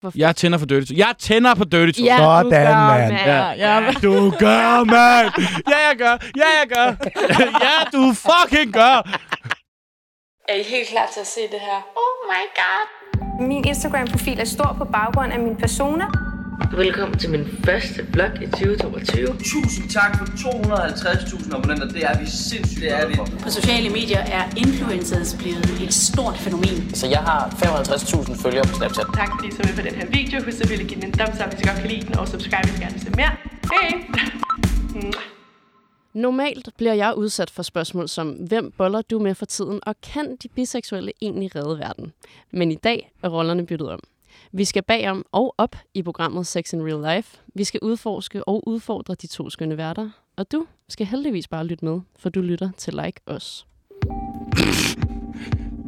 Hvorfor? Jeg tænder for Dirty Talk. Jeg tænder på Dirty Talk. ja, du Sådan, gør, mand. Ja. Ja, ja. Du gør, mand! Ja, jeg gør. Ja, jeg gør. ja, du fucking gør. Er I helt klar til at se det her? Oh my god! Min Instagram-profil er stor på baggrund af min persona. Velkommen til min første blog i 2022. Tusind tak for 250.000 abonnenter. Det er vi sindssygt det er vi. På sociale medier er influencers blevet et stort fænomen. Så jeg har 55.000 følgere på Snapchat. Tak fordi I så med på den her video. Husk selvfølgelig at give den en thumbs up, hvis I godt kan lide den, og subscribe, hvis I gerne vil se mere. Hej! Normalt bliver jeg udsat for spørgsmål som, hvem boller du med for tiden, og kan de biseksuelle egentlig redde verden? Men i dag er rollerne byttet om. Vi skal bagom og op i programmet Sex in Real Life. Vi skal udforske og udfordre de to skønne værter. Og du skal heldigvis bare lytte med, for du lytter til Like Os.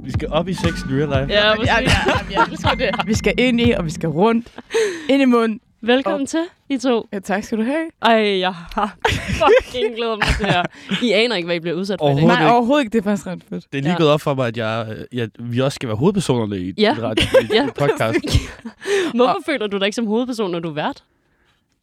Vi skal op i sex in real life. Ja, Ja, ja, ja, vi skal det. Vi skal ind i, og vi skal rundt. Ind i munden. Velkommen til, I to. Ja, tak skal du have. Ej, jeg har fucking glædet mig til det her. I aner ikke, hvad I bliver udsat for i dag. Overhovedet Nej, ikke. overhovedet ikke. Det er faktisk ret fedt. Det er lige Ja. gået op for mig, at jeg, øh, jeg, vi også skal være hovedpersonerne i Ja. ja. radio, i Ja. ja. podcast. Hvorfor føler du dig ikke som hovedperson, når du er vært?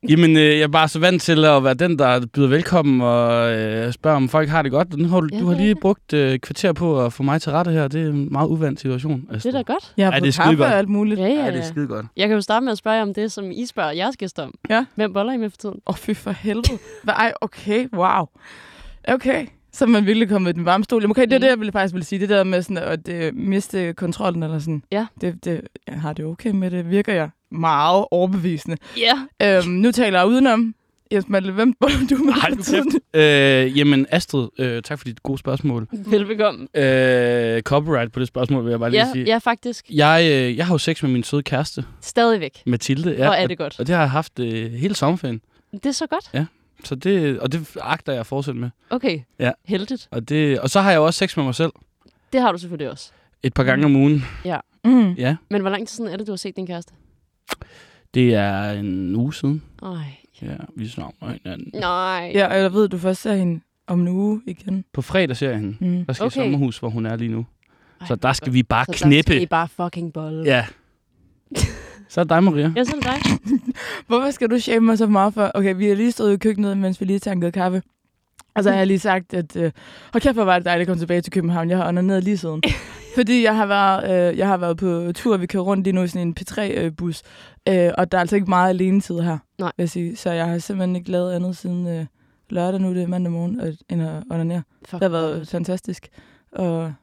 Jamen, øh, jeg er bare så vant til at være den, der byder velkommen og øh, spørger, om folk har det godt. Den har du, Ja, du har det er lige det. brugt øh, kvarter på at få mig til rette her. Det er en meget uvandt situation. Det er da godt. Jeg har Ej, det er ja, fået kaffe skidegodt. og alt muligt. Åh, Ja, ja, Ja, det er ja. skide godt. Jeg kan jo starte med at spørge jer om det, som I spørger jeres gæster om. Ja. Hvem boller I med for tiden? oh, fy for helvede. Hva- Ej, okay, wow. Okay, så er man virkelig kommet i den varme stol. Jamen, Okay, det er Mm. det, jeg ville faktisk ville sige. Det der med sådan, at øh, miste kontrollen eller sådan. Ja. Det, det, jeg har det okay med det. Virker jeg meget overbevisende. Ja. Øhm, nu taler jeg udenom. Jesper, Malle, hvem bor du med Ej, for du tiden? kæft. Øh, jamen, Astrid, øh, tak for dit gode spørgsmål. Velbekomme. Øh, copyright på det spørgsmål, vil jeg bare lige Ja, sige. ja, faktisk. Jeg, øh, jeg har jo sex med min søde kæreste, Stadigvæk. Mathilde. Hvor er det godt. Og det har jeg haft øh, hele sommerferien. Det er så godt. Så det, og det agter jeg at fortsætte med. Okay. Ja. Heldigt. Og, det, og så har jeg jo også sex med mig selv Det har du selvfølgelig også. et par gange om ugen. Mm. Ja, Men hvor lang tid siden er det, du har set din kæreste? det er en uge siden. Ej. Ja, vi snakker hinanden. Nej. Ja, og jeg ved, at du først ser hende om en uge igen. På fredag ser jeg hende. Mm. Der skal okay. Okay. i sommerhus, hvor hun er lige nu. Ej, Så der skal hvor vi bare godt. Så der knippe. skal I bare fucking bolle. Ja. Så er det dig, Maria. Ja, så er det dig. Hvorfor skal du shame mig så meget for? Okay, vi har lige stået i køkkenet, mens vi lige tankede kaffe. Og så har jeg lige sagt, at øh, hold kæft, hvor var det dejligt at komme tilbage til København. Jeg har onaneret lige siden. Fordi jeg har, været, øh, jeg har været på tur, vi kører rundt lige nu i sådan en P3-bus. Øh, og der er altså ikke meget alene tid her, Nej. vil jeg sige. Så jeg har simpelthen ikke lavet andet siden øh, lørdag nu, det er mandag morgen, og, end at onanere. Fuck, Det har været fantastisk. Og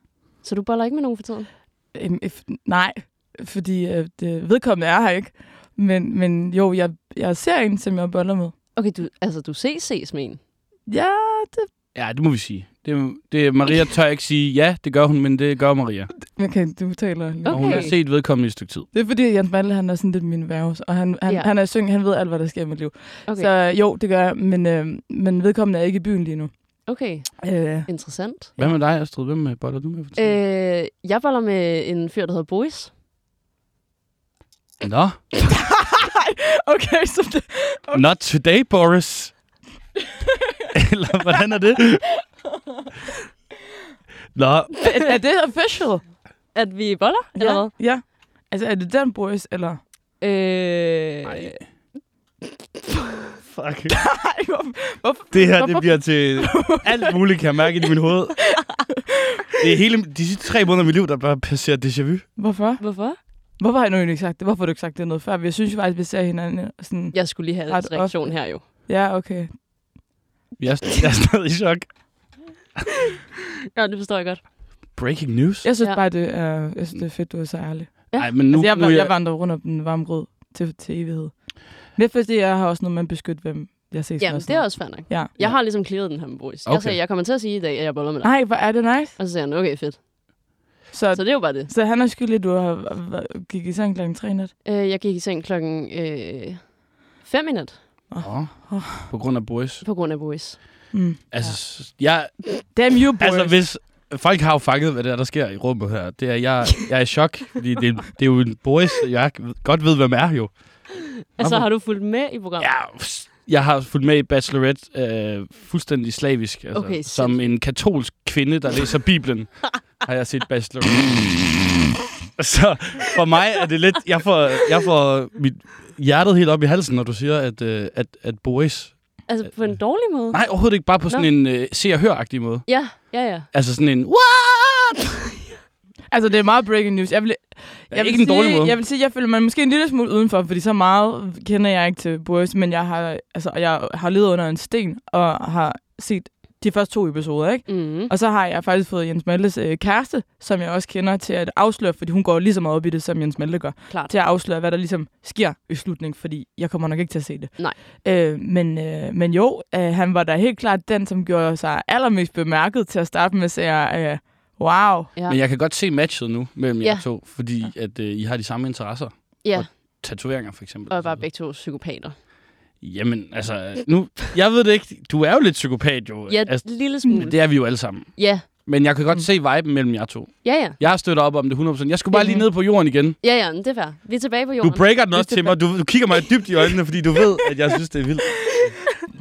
Så du boller ikke med nogen for tiden? Øhm, if, nej, fordi øh, det, vedkommende er her ikke. Men, men jo, jeg, jeg ser en, som jeg boller med. Okay, du, altså, du ses, ses med en. Ja, det... Ja, det må vi sige. Det, det, Maria tør ikke sige, ja, det gør hun, men det gør Maria. Okay, du taler lige. Og hun har Okay. set vedkommende i et stykke tid. Det er fordi, at Jens Mandel, han er sådan lidt min værves, og han, han, Ja. ja. han er syng, han ved alt, hvad der sker i mit liv. Okay. Okay. Så jo, det gør jeg, men, øh, men vedkommende er ikke i byen lige nu. Okay, Øh, interessant. Hvad med dig, Astrid? Hvem øh, boller du med for tiden? Øh, jeg boller med en fyr, der hedder Boris. Øh. Nå, okay, så det, not today, Boris. Eller hvordan er det? Nå, er det official? At vi boller, eller hvad? ja. Altså, er det den Boris, eller? Øh, fuck. Ej, hvor, hvorfor? Det her, det Hvorfor? bliver til alt muligt, kan jeg mærke i min hoved. Det er hele de sidste tre måneder af mit liv, der bare passerer déjà vu. Hvorfor? Hvorfor? Hvorfor har jeg nu egentlig ikke sagt det? Hvorfor har du ikke sagt det noget før? Jeg synes jo faktisk, vi ser hinanden sådan... Jeg skulle lige have Ret hans reaktion her jo. Ja, okay. Jeg er, st- jeg er stadig i chok. Ja, det forstår jeg godt. Breaking news. Jeg synes Ja. ja. bare, det er, jeg synes, det er fedt, du er så ærlig. Ja. Nej, men nu, Nu, altså, jeg, nu er jeg, jeg vandrer rundt om den varme grød til, til evighed. Lidt fordi jeg har også noget med at beskytte, hvem jeg ses med. Jamen, og det sådan er noget. også fair nok. Ja. Jeg har ligesom clearet den her med Boris. Okay. Jeg Okay. Ah. sagde, jeg kommer til at sige i dag, at jeg boller med dig. Nej, hvor er det nice. Og så sagde han, okay, fedt. Så, Så så, det er jo bare det. så han er skyldig, at du har, hva- gik i seng klokken 3 nat. Øh, jeg gik i seng klokken øh, 5 i nat Nå, på grund af Boris. på grund af Boris. Mm. Altså, s- jeg, Damn you, boys. altså hvis... Folk har jo fanget, hvad det er, der sker i rummet her. Det er, jeg, jeg er i chok, fordi det, det er jo en Boris, jeg godt ved, hvem er jo. Altså, Hvorfor? har du fulgt med i programmet? Jeg, jeg har fulgt med i Bachelorette øh, fuldstændig slavisk. Altså, Okay, sindssygt. som en katolsk kvinde, der læser Bibelen, har jeg set Bachelorette. Så for mig er det lidt... Jeg får, jeg får mit hjertet helt op i halsen, når du siger, at, øh, at, at Boris... Altså på en dårlig måde? Nej, overhovedet ikke. Bare på sådan en øh, se- og hør-agtig måde. Ja, ja, ja. Altså sådan en... What? Altså, det er meget breaking news. Jeg vil, jeg ikke vil en dårlig sige, måde. Jeg vil sige, jeg føler mig måske en lille smule udenfor, fordi så meget kender jeg ikke til Boris, men jeg har, altså, jeg har levet under en sten og har set de første to episoder, ikke? Mm. Og så har jeg faktisk fået Jens Maltes øh, kæreste, som jeg også kender, til at afsløre, fordi hun går lige så meget op i det, som Jens Malte gør, Klart. til at afsløre, hvad der ligesom sker i slutningen, fordi jeg kommer nok ikke til at se det. Nej. Øh, men, øh, men jo, øh, han var da helt klart den, som gjorde sig allermest bemærket til at starte med, så jeg, øh, wow, Ja. Men jeg kan godt se matchet nu mellem jer Ja. to, fordi at øh, I har de samme interesser. Ja, Og- Tatoveringer, for eksempel. og bare begge to psykopater. Jamen, altså... Nu, jeg ved det ikke. Du er jo lidt psykopat, jo. Ja, Mm. altså, en lille smule. men det er vi jo alle sammen. Ja, Men jeg kan godt se viben mellem jer to. ja, ja. Jeg støtter op om det 100%. Jeg skulle bare lige ned på jorden igen. Ja, ja, men det er fair. Vi er tilbage på Du jorden. breaker den også til mig. Du, du kigger mig dybt i øjnene, fordi du ved, at jeg synes, det er vildt.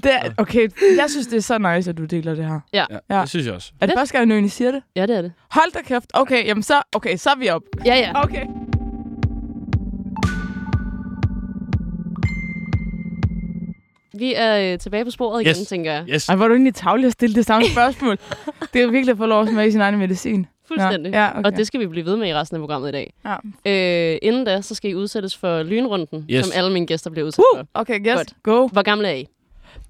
Det er, okay, jeg synes, det er så nice, at du deler det her. Ja, Ja. Det synes jeg også. Er det første gang, du egentlig siger det? Ja, det er det. Hold da kæft. Okay, jamen så, okay, så er vi op. Ja, ja. Okay. Vi er øh, tilbage på sporet igen, Yes. tænker jeg. Yes. Ej, var du egentlig tavlig at stille det samme spørgsmål? det er virkelig at få lov at smage sin egen medicin. Fuldstændig. Nå, ja, okay. Og det skal vi blive ved med i resten af programmet i dag. Ja. Øh, inden da, så skal I udsættes for lynrunden, Yes. som alle mine gæster bliver udsat Woo! for. Okay, yes. Godt. Go. Hvor gamle er I?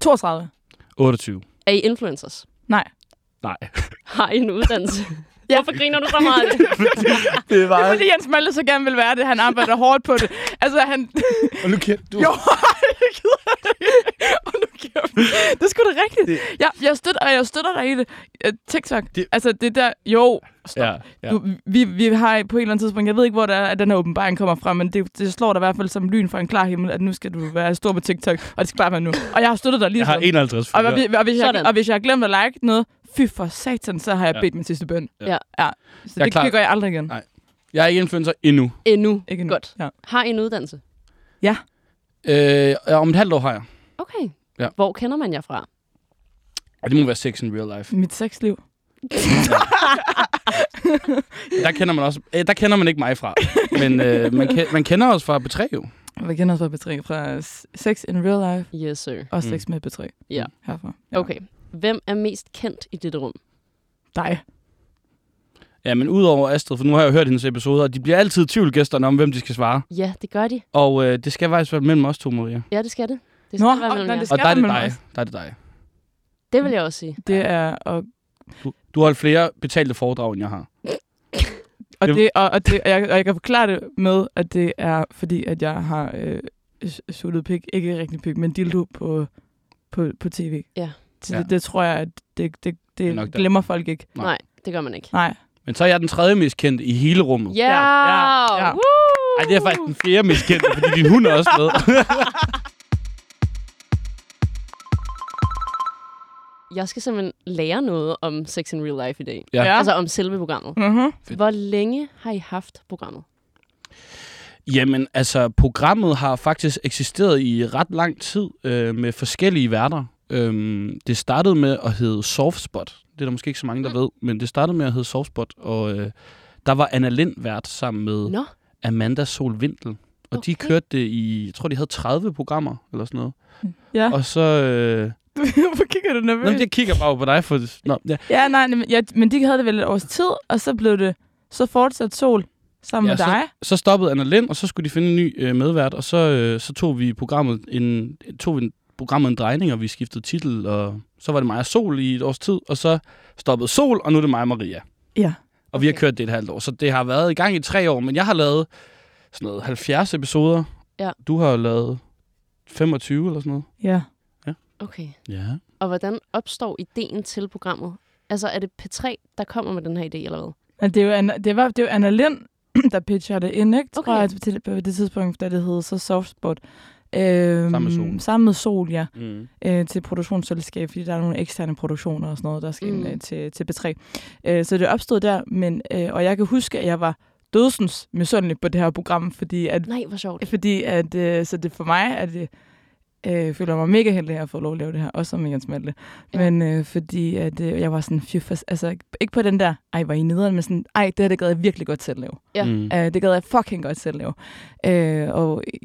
32. 28. Er I influencers? Nej. Nej. Har I en uddannelse? ja. Hvorfor griner du så meget? Det var... Fordi Jens Malte så gerne vil være det. Han arbejder hårdt på det. Altså, han... Og nu kæft, du... Jo, jeg gider det ikke. Og nu kæft. Det er sgu da rigtigt. Det... Jeg, jeg, støtter, og jeg støtter dig i det. Øh, TikTok. Det- Det... Altså, det der... Jo, stop. Ja, ja. Du, vi, vi har på et eller andet tidspunkt, jeg ved ikke, hvor det er, at den her åbenbaring kommer fra, men det, det slår dig i hvert fald som lyn fra en klar himmel, at nu skal du være stor på TikTok, og det skal bare være nu. Og jeg har støttet dig lige Jeg har sådan. Ligesom- 51 og, og, følgere. og, og, hvis jeg, Sådan. og hvis jeg har glemt at like noget, fy for satan, så har jeg bedt min sidste bøn. Ja. ja. Så Jeg er det, klar. det gør jeg aldrig igen. Nej. Jeg er ikke influencer endnu. Endnu. Ikke nu. Godt. Ja. Har I en uddannelse? Øh, og om et halvt år har jeg. Okay. Ja. Hvor kender man jer fra? Og det må være sex in real life. Mit sexliv. Der kender man også... Øh, der kender man ikke mig fra. Men øh, man, ke- man kender os fra B3 jo. Vi kender os fra B3, fra sex in real life Yes, sir. og Mm. sex med B3. Ja. Herfra. Ja. Okay. Hvem er mest kendt i dette rum? Dig. Ja, men udover Astrid, for nu har jeg jo hørt hendes episoder, og de bliver altid i tvivl gæsterne om, hvem de skal svare. Ja, det gør de. Og øh, det skal faktisk være mellem os to, Maria. Ja, det skal det. Det skal Nå, være og- mellem nej, jer. det Og skal der er være det mellem dig. os. Der er det dig. Det vil jeg også sige. Det er, og, Du, du har holdt flere betalte foredrag, end jeg har. og, Det- det, og, og, det, og, jeg, og jeg kan forklare det med, at det er fordi, at jeg har øh, s- suttet pik, ikke rigtig pik, men dildo på, på, på tv. Ja. Så Ja. Det, det tror jeg, at det, det, er det nok der. glemmer folk ikke. Nej. Nej, Nej det gør man ikke. Nej. Men så er jeg den tredje mest kendte i hele rummet. Ja! ja, ja. Woo! Ej, det er faktisk den fjerde mest kendte, fordi din hund er også med. Jeg skal simpelthen lære noget om Sex in Real Life i Ah. dag. Ja. Altså om selve programmet. Mm-hmm. Hvor længe har I haft programmet? Jamen, altså, programmet har faktisk eksisteret i ret lang tid øh, med forskellige værter. Øhm, det startede med at hedde Softspot. Det er der måske ikke så mange, der ved, men det startede med at hedde Softspot, og øh, der var Anna Lind vært sammen med Nå, Amanda Solvindel. Og okay. de Okay. kørte det i, jeg tror, de havde 30 programmer, eller sådan noget. Ja. Og så... Øh, Hvorfor kigger du nervøs? nå, men jeg kigger bare på dig, for... Nå, ja. Ja, nej, nej, men, ja, men de havde det vel et års tid, og så blev det så fortsat sol sammen Ja, med dig. så stoppede Anna Lind, og så skulle de finde en ny øh, medvært, og så, øh, så tog vi programmet en, tog vi en, programmet en drejning, og vi skiftede titel, og så var det mig og Sol i et års tid, og så stoppede Sol, og nu er det mig og Maria. Ja. Og vi har Okay. kørt det et halvt år, så det har været i gang i tre år, men jeg har lavet sådan noget 70 episoder. Ja. Du har lavet 25 eller sådan noget. Ja. okay. Ja. Og hvordan opstår ideen til programmet? Altså, er det P3, der kommer med den her idé, eller hvad? Men det, er jo Anna, det, var, det er jo Anna Lind, der pitcher det ind, ikke? Okay. Tror jeg, til, på det tidspunkt, da det hed så Softspot. Øhm, Sammen med Sol. Sammen med Sol, ja. Mm. Øh, til produktionsselskab, fordi der er nogle eksterne produktioner og sådan noget, der skal mm. Mm. ind øh, til, til B3. Øh, så det opstod der, men, øh, og jeg kan huske, at jeg var dødsens misundelig på det her program, fordi at Nej, hvor sjovt. fordi at, øh, så det for mig er det, øh, føler mig mega heldig at have fået lov at lave det her, også som Megan Smalte. Ja. Men øh, fordi at, øh, jeg var sådan, fy, for, altså ikke på den der, ej, var I nederen, men sådan, ej, det her, det gad jeg virkelig godt selv lave. Ja. Mm. Øh, det gad jeg fucking godt selv lave. Øh, og øh,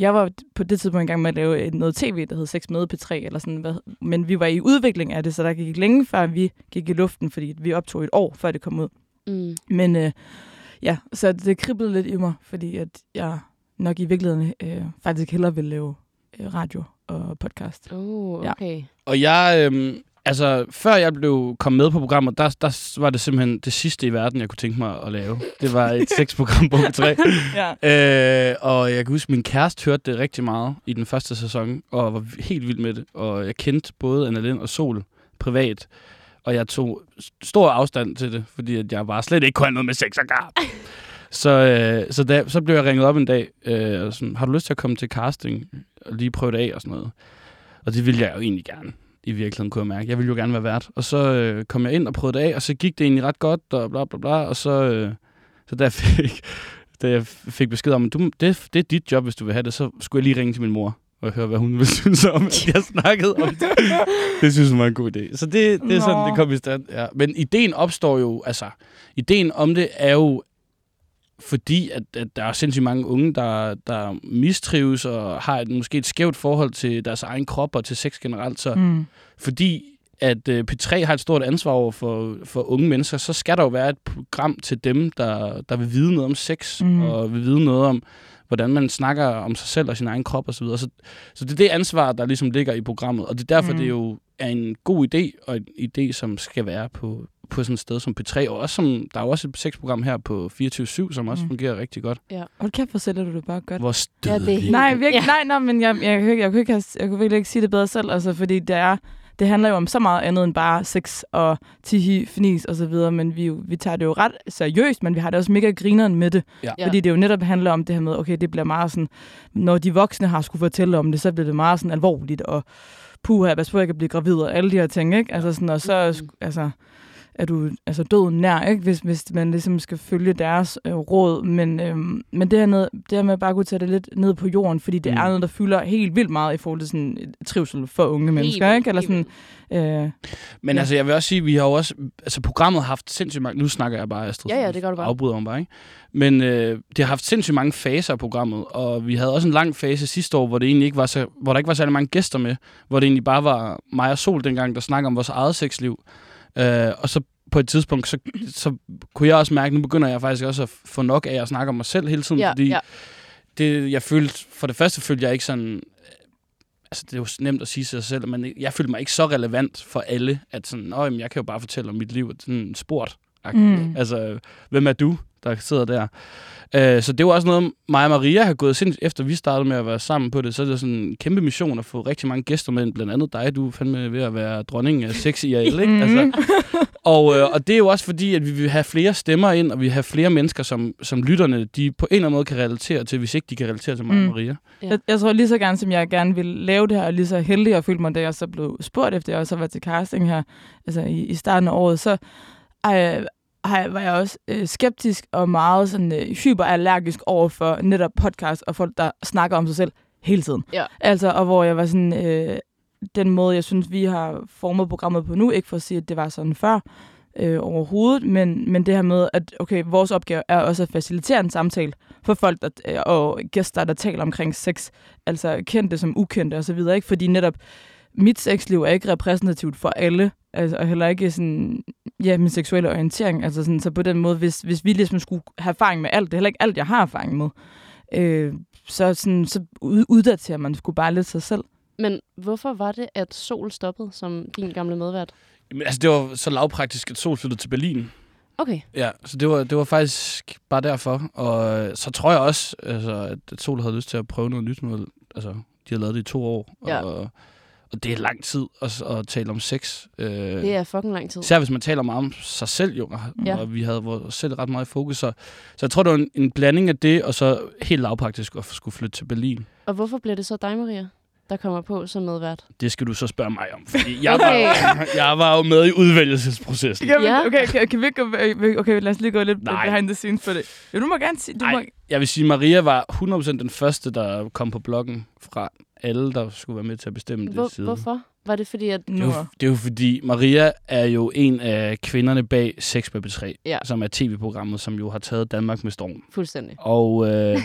jeg var på det tidspunkt i gang med at lave et- noget tv, der hed Sex med P3, eller sådan, hvad, men vi var i udvikling af det, så der gik ikke længe før vi gik i luften, fordi vi optog et år, før det kom ud. Mm. Men øh, ja, så det kriblede lidt i mig, fordi at jeg nok i virkeligheden øh, faktisk hellere ville lave øh, radio og podcast. Oh, Ja. okay. Og jeg, øhm, altså, før jeg blev kom med på programmet, der, der var det simpelthen det sidste i verden, jeg kunne tænke mig at lave. Det var et sexprogram på P3. Ja. Øh, og jeg kan huske, at min kæreste hørte det rigtig meget i den første sæson, og var helt vild med det. Og jeg kendte både Anna Lind og Sol privat, og jeg tog stor afstand til det, fordi at jeg bare slet ikke kunne have noget med sex at gøre. Så, øh, så, da, så blev jeg ringet op en dag, øh, og sådan, har du lyst til at komme til casting og lige prøve det af og sådan noget? Og det ville jeg jo egentlig gerne i virkeligheden, kunne jeg mærke. Jeg ville jo gerne være vært. Og så øh, kom jeg ind og prøvede det af, og så gik det egentlig ret godt, og bla bla bla, og så, øh, så der fik, da jeg fik besked om, at du, det, det er dit job, hvis du vil have det, så skulle jeg lige ringe til min mor og høre, hvad hun ville synes om, at jeg snakkede om det. Det synes hun var en god idé. Så det, det er sådan, Nå. det kom i stand. Ja. Men ideen opstår jo, altså, ideen om det er jo, fordi at, at der er sindssygt mange unge, der, der mistrives og har et, måske et skævt forhold til deres egen krop og til sex generelt. Så Mm. fordi at øh, P3 har et stort ansvar over for, for unge mennesker, så skal der jo være et program til dem, der, der vil vide noget om sex, mm. Mhm. og vil vide noget om, hvordan man snakker om sig selv og sin egen krop osv. Så, videre. så, så det er det ansvar, der ligesom ligger i programmet, og det er derfor, mm. Mhm. det jo er en god idé, og en idé, som skal være på, på sådan et sted som P3, og også som, der er jo også et sexprogram her på 24-7, som også mm. Mhm. fungerer rigtig godt. Hold kæft, hvor sælger du det bare godt. Hvor Ja, det er stødeligt. helt- Nej, virkelig, Ja. ja. nej, nej, men jeg, jeg, jeg, jeg, jeg, kunne ikke have, jeg kunne virkelig ikke sige det bedre selv, altså, fordi det er, det handler jo om så meget andet end bare sex og tihi, fnis og så videre, men vi, er jo- vi tager det jo ret seriøst, men vi har det også mega grineren med det, Ja. Ja. fordi det jo netop handler om det her med, okay, det bliver meget sådan, når de voksne har skulle fortælle om det, så bliver det meget sådan alvorligt, og puha, pas på, jeg kan blive gravid og alle de her ting, ikke? Altså sådan, og så, sk- altså, er du altså døden nær, ikke? Hvis, hvis man ligesom skal følge deres øh, råd. Men, øhm, men det, her ned, det her med at bare kunne tage det lidt ned på jorden, fordi det Mm. mm. er noget, der fylder helt vildt meget i forhold til sådan, øh, trivsel for unge mennesker. vildt, ikke? Eller helt sådan, øh, Men ja. Ja. altså, jeg vil også sige, vi har jo også... Altså, programmet har haft sindssygt mange... Nu snakker jeg bare, Astrid. Ja, ja, så det gør du bare. Afbryder mig bare, ikke? Men øh, det har haft sindssygt mange faser af programmet, og vi havde også en lang fase sidste år, hvor, det egentlig ikke var så, hvor der ikke var særlig mange gæster med, hvor det egentlig bare var mig og Sol dengang, der snakkede om vores eget sexliv. Øh, og så på et tidspunkt, så, så kunne jeg også mærke, at nu begynder jeg faktisk også at få nok af at snakke om mig selv hele tiden, Ja, fordi ja. det, jeg følte, for det første følte jeg ikke sådan, altså det er jo nemt at sige sig selv, men jeg følte mig ikke så relevant for alle, at sådan, Nå, jamen, jeg kan jo bare fortælle om mit liv, og sådan sport. Mm. Mm. Altså, hvem er du, der sidder der? Øh, så det var også noget, mig og Maria har gået sindssygt, efter vi startede med at være sammen på det, så er det sådan en kæmpe mission at få rigtig mange gæster med, blandt andet dig, du er fandme ved at være dronning af sex i alle, Mm-hmm. ikke? Altså, Mhm. og, øh, og det er jo også fordi, at vi vil have flere stemmer ind, og vi vil have flere mennesker, som, som lytterne, de på en eller anden måde kan relatere til, hvis ikke de kan relatere til mig og Mm. Maria. Ja. Jeg, jeg tror lige så gerne, som jeg gerne ville lave det her, og lige så heldig jeg følte mig, da jeg så blev spurgt efter, og så var til casting her altså i, i starten af året, så øh, har jeg- var jeg også øh, skeptisk og meget sådan, øh, hyperallergisk over for netop podcast og folk, der snakker om sig selv hele tiden. Ja. Altså, og hvor jeg var sådan, øh, den måde, jeg synes, vi har formet programmet på nu, ikke for at sige, at det var sådan før, øh, overhovedet, men, men det her med, at okay, vores opgave er også at facilitere en samtale for folk der, øh, og gæster, der taler omkring sex, altså kendte som ukendte osv., ikke? fordi netop mit sexliv er ikke repræsentativt for alle, altså, og heller ikke sådan, ja, min seksuelle orientering, altså sådan, så på den måde, hvis, hvis vi ligesom skulle have erfaring med alt, det er heller ikke alt, jeg har erfaring med, øh, så, sådan, så ud- uddaterer man skulle bare lidt sig selv. Men hvorfor var det, at Sol stoppede som din gamle medvært? Men, altså, det var så lavpraktisk, at Sol flyttede til Berlin. Okay. Ja, så det var, det var faktisk bare derfor. Og øh, så tror jeg også, altså, at- at Sol havde lyst til at prøve noget nyt. Med, altså, de har lavet det i to år, Ja. og, og det er lang tid at, at tale om sex. Øh, Det er fucking lang tid. Især hvis man taler meget om sig selv, jo, og, Ja. ja. og vi havde vores selv ret meget i fokus. Så, så jeg tror, det var en, en blanding af det, og så helt lavpraktisk at skulle flytte til Berlin. Og hvorfor bliver det så dig, Maria? der kommer på som medvært? Det skal du så spørge mig om, fordi jeg, var, jeg var jo med i udvælgelsesprocessen. Kan vi, Ja. okay, okay, kan vi ikke gå, øh, okay, lad os lige gå lidt Nej. Nej. behind the scenes for det. Jo, du må gerne sige, du må, Ej, jeg vil sige, Maria var 100% den første, der kom på bloggen fra alle, der skulle være med til at bestemme det Hvor, side. hvorfor? Var det fordi, at... Det er, nu. jo, det er jo fordi, Maria er jo en af kvinderne bag 6 på 3 Ja. som er tv-programmet, som jo har taget Danmark med storm. Fuldstændig. Og øh,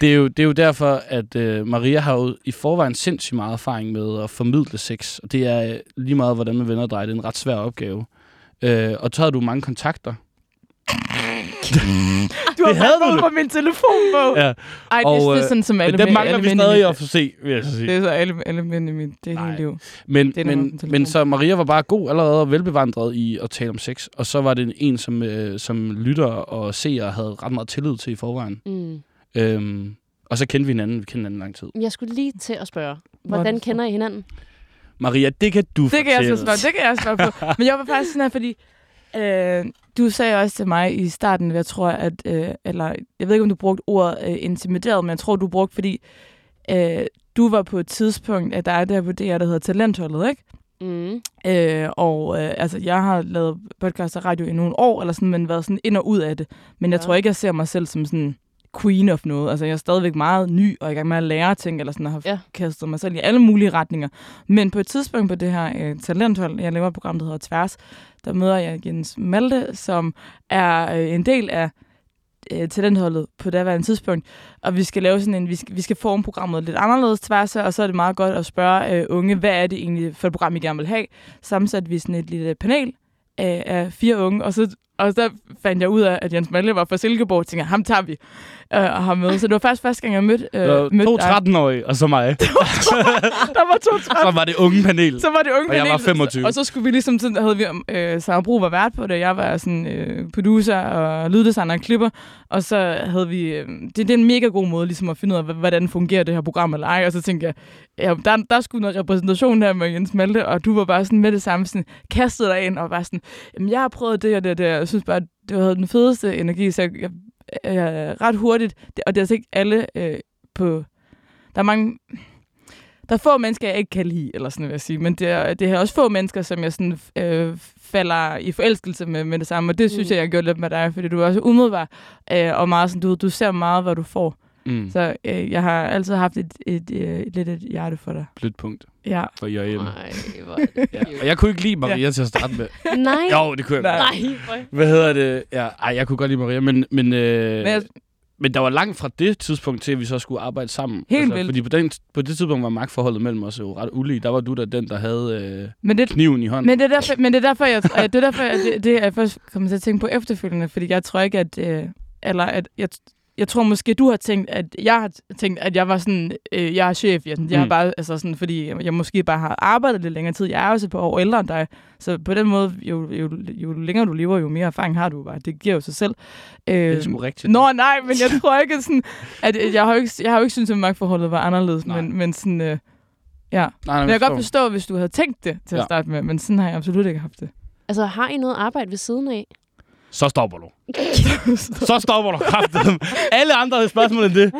det, er jo, det er jo derfor, at øh, Maria har jo i forvejen sindssygt meget erfaring med at formidle sex. Og det er øh, lige meget, hvordan man vender og drejer. Det er en ret svær opgave. Øh, og så har du mange kontakter. Du har Det havde bare du fået da. fra min telefonbog. Ja. Ej, det, Og, og, det øh, er sådan, som alle Men det mænd- mangler alle vi mænd i mit- stadig at få se, vil jeg så sige. Det er så alle, alle mænd i mit det er Nej. hele liv. Men, Det er nummer men, på telefonen. men så Maria var bare god allerede og velbevandret i at tale om sex. Og så var det en, som, øh, som lytter og seere havde ret meget tillid til i forvejen. Mm. Øhm, og så kendte vi hinanden. Vi kendte hinanden lang tid. Jeg skulle lige til at spørge, hvordan Hvordan- kender I hinanden? Maria, det kan du Det kan jeg så fortælle. svare, det kan jeg svare på. Men jeg var faktisk sådan her, fordi øh, du sagde også til mig i starten, jeg tror, at, øh, eller jeg ved ikke, om du brugte ordet øh, intimideret, men jeg tror, du brugte, fordi øh, du var på et tidspunkt, at der er det her på DR, der hedder Talentholdet, ikke? Øhm. Mm. Øh, og øh, altså, jeg har lavet podcast og radio i nogle år, eller sådan, men været sådan ind og ud af det. Men jeg Ja. ja. tror ikke, jeg ser mig selv som sådan queen of noget. Altså, jeg er stadigvæk meget ny og i gang med at lære ting, eller sådan, og har Ja. ja. kastet mig selv i alle mulige retninger. Men på et tidspunkt på det her øh, talenthold, jeg laver et program, der hedder Tværs, der møder jeg Jens Malte, som er øh, en del af øh, talentholdet på daværende tidspunkt, og vi skal lave sådan en, vi skal, vi skal forme programmet lidt anderledes tværs, af, og så er det meget godt at spørge øh, unge, hvad er det egentlig for et program, I gerne vil have? Sammensat vi sådan et lille panel øh, af fire unge, og så og der fandt jeg ud af, at Jens Malle var fra Silkeborg, og tænkte, jeg, ham tager vi øh, og har med. Så det var faktisk første gang, jeg mødte, øh, Øh, mødte to dig. 13-årige, og så mig. Der var to 13. Så var det unge panel. Så var det unge Og jeg var panelet, 25. Og så skulle vi ligesom, sådan, havde vi, øh, Sarah Bro var vært på det, jeg var sådan øh, producer og lyddesigner og klipper, og så havde vi, øh, det, det er en mega god måde ligesom at finde ud af, hv- hvordan fungerer det her program eller ej, og så tænkte jeg, ja, der, der skulle noget repræsentation her med Jens Malte, og du var bare sådan med det samme, sådan kastede dig ind og var sådan, jamen jeg har prøvet det og det og det, og jeg synes bare, det havde den fedeste energi, så jeg, jeg, jeg ret hurtigt, det- og det er altså ikke alle øh, på, der er mange der er få mennesker, jeg ikke kan lide, eller sådan vil jeg sige. Men det er, det er også få mennesker, som jeg sådan, øh, falder i forelskelse med, med det samme. Og det Mm. synes mm. jeg, jeg har gjort lidt med dig, fordi du er også umiddelbar. Øh, og meget sådan, du, du ser meget, hvad du får. Mm, Så øh, jeg har altid haft et, et, øh, lidt et hjerte for dig. blødt punkt Ja. for JM. Nej, hvor er det Ja. Og cute. jeg kunne ikke lide Maria ja. til at starte med. Nej, Jo, det kunne jeg godt. nej. hvor- Hvad hedder det? Ja, ej, jeg kunne godt lide Maria, men, men, øh, Men jeg, men der var langt fra det tidspunkt til, at vi så skulle arbejde sammen. Altså, Helt vildt. Fordi på, den, på det tidspunkt var magtforholdet mellem os jo ret ulige. Der var du der den, der havde øh, men det, kniven i hånden. men det er derfor, men det er derfor, jeg, og det, er derfor jeg, det, det er jeg først kommet til at tænke på efterfølgende, fordi jeg tror ikke, at... Øh, eller at jeg, jeg tror måske, du har tænkt, at jeg har tænkt, at jeg var sådan, øh, jeg er chef, jeg, jeg Mm. er bare, altså sådan, fordi jeg måske bare har arbejdet lidt længere tid. Jeg er også et par år ældre end dig, så på den måde, jo, jo, jo længere du lever, jo mere erfaring har du bare. Det giver jo sig selv. det er Øh, sgu rigtigt. Nå, nej, men jeg tror ikke, at sådan, at jeg har jo ikke, jeg har jo ikke syntes, at magtforholdet var anderledes, Nej. men, men sådan, øh, ja. nej, nej, Men jeg kan godt forstår. forstå, hvis du havde tænkt det til at Ja. starte med, men sådan har jeg absolut ikke haft det. Altså, har I noget arbejde ved siden af? Så stopper du. så stopper du kraften. Alle andre havde spørgsmål end det.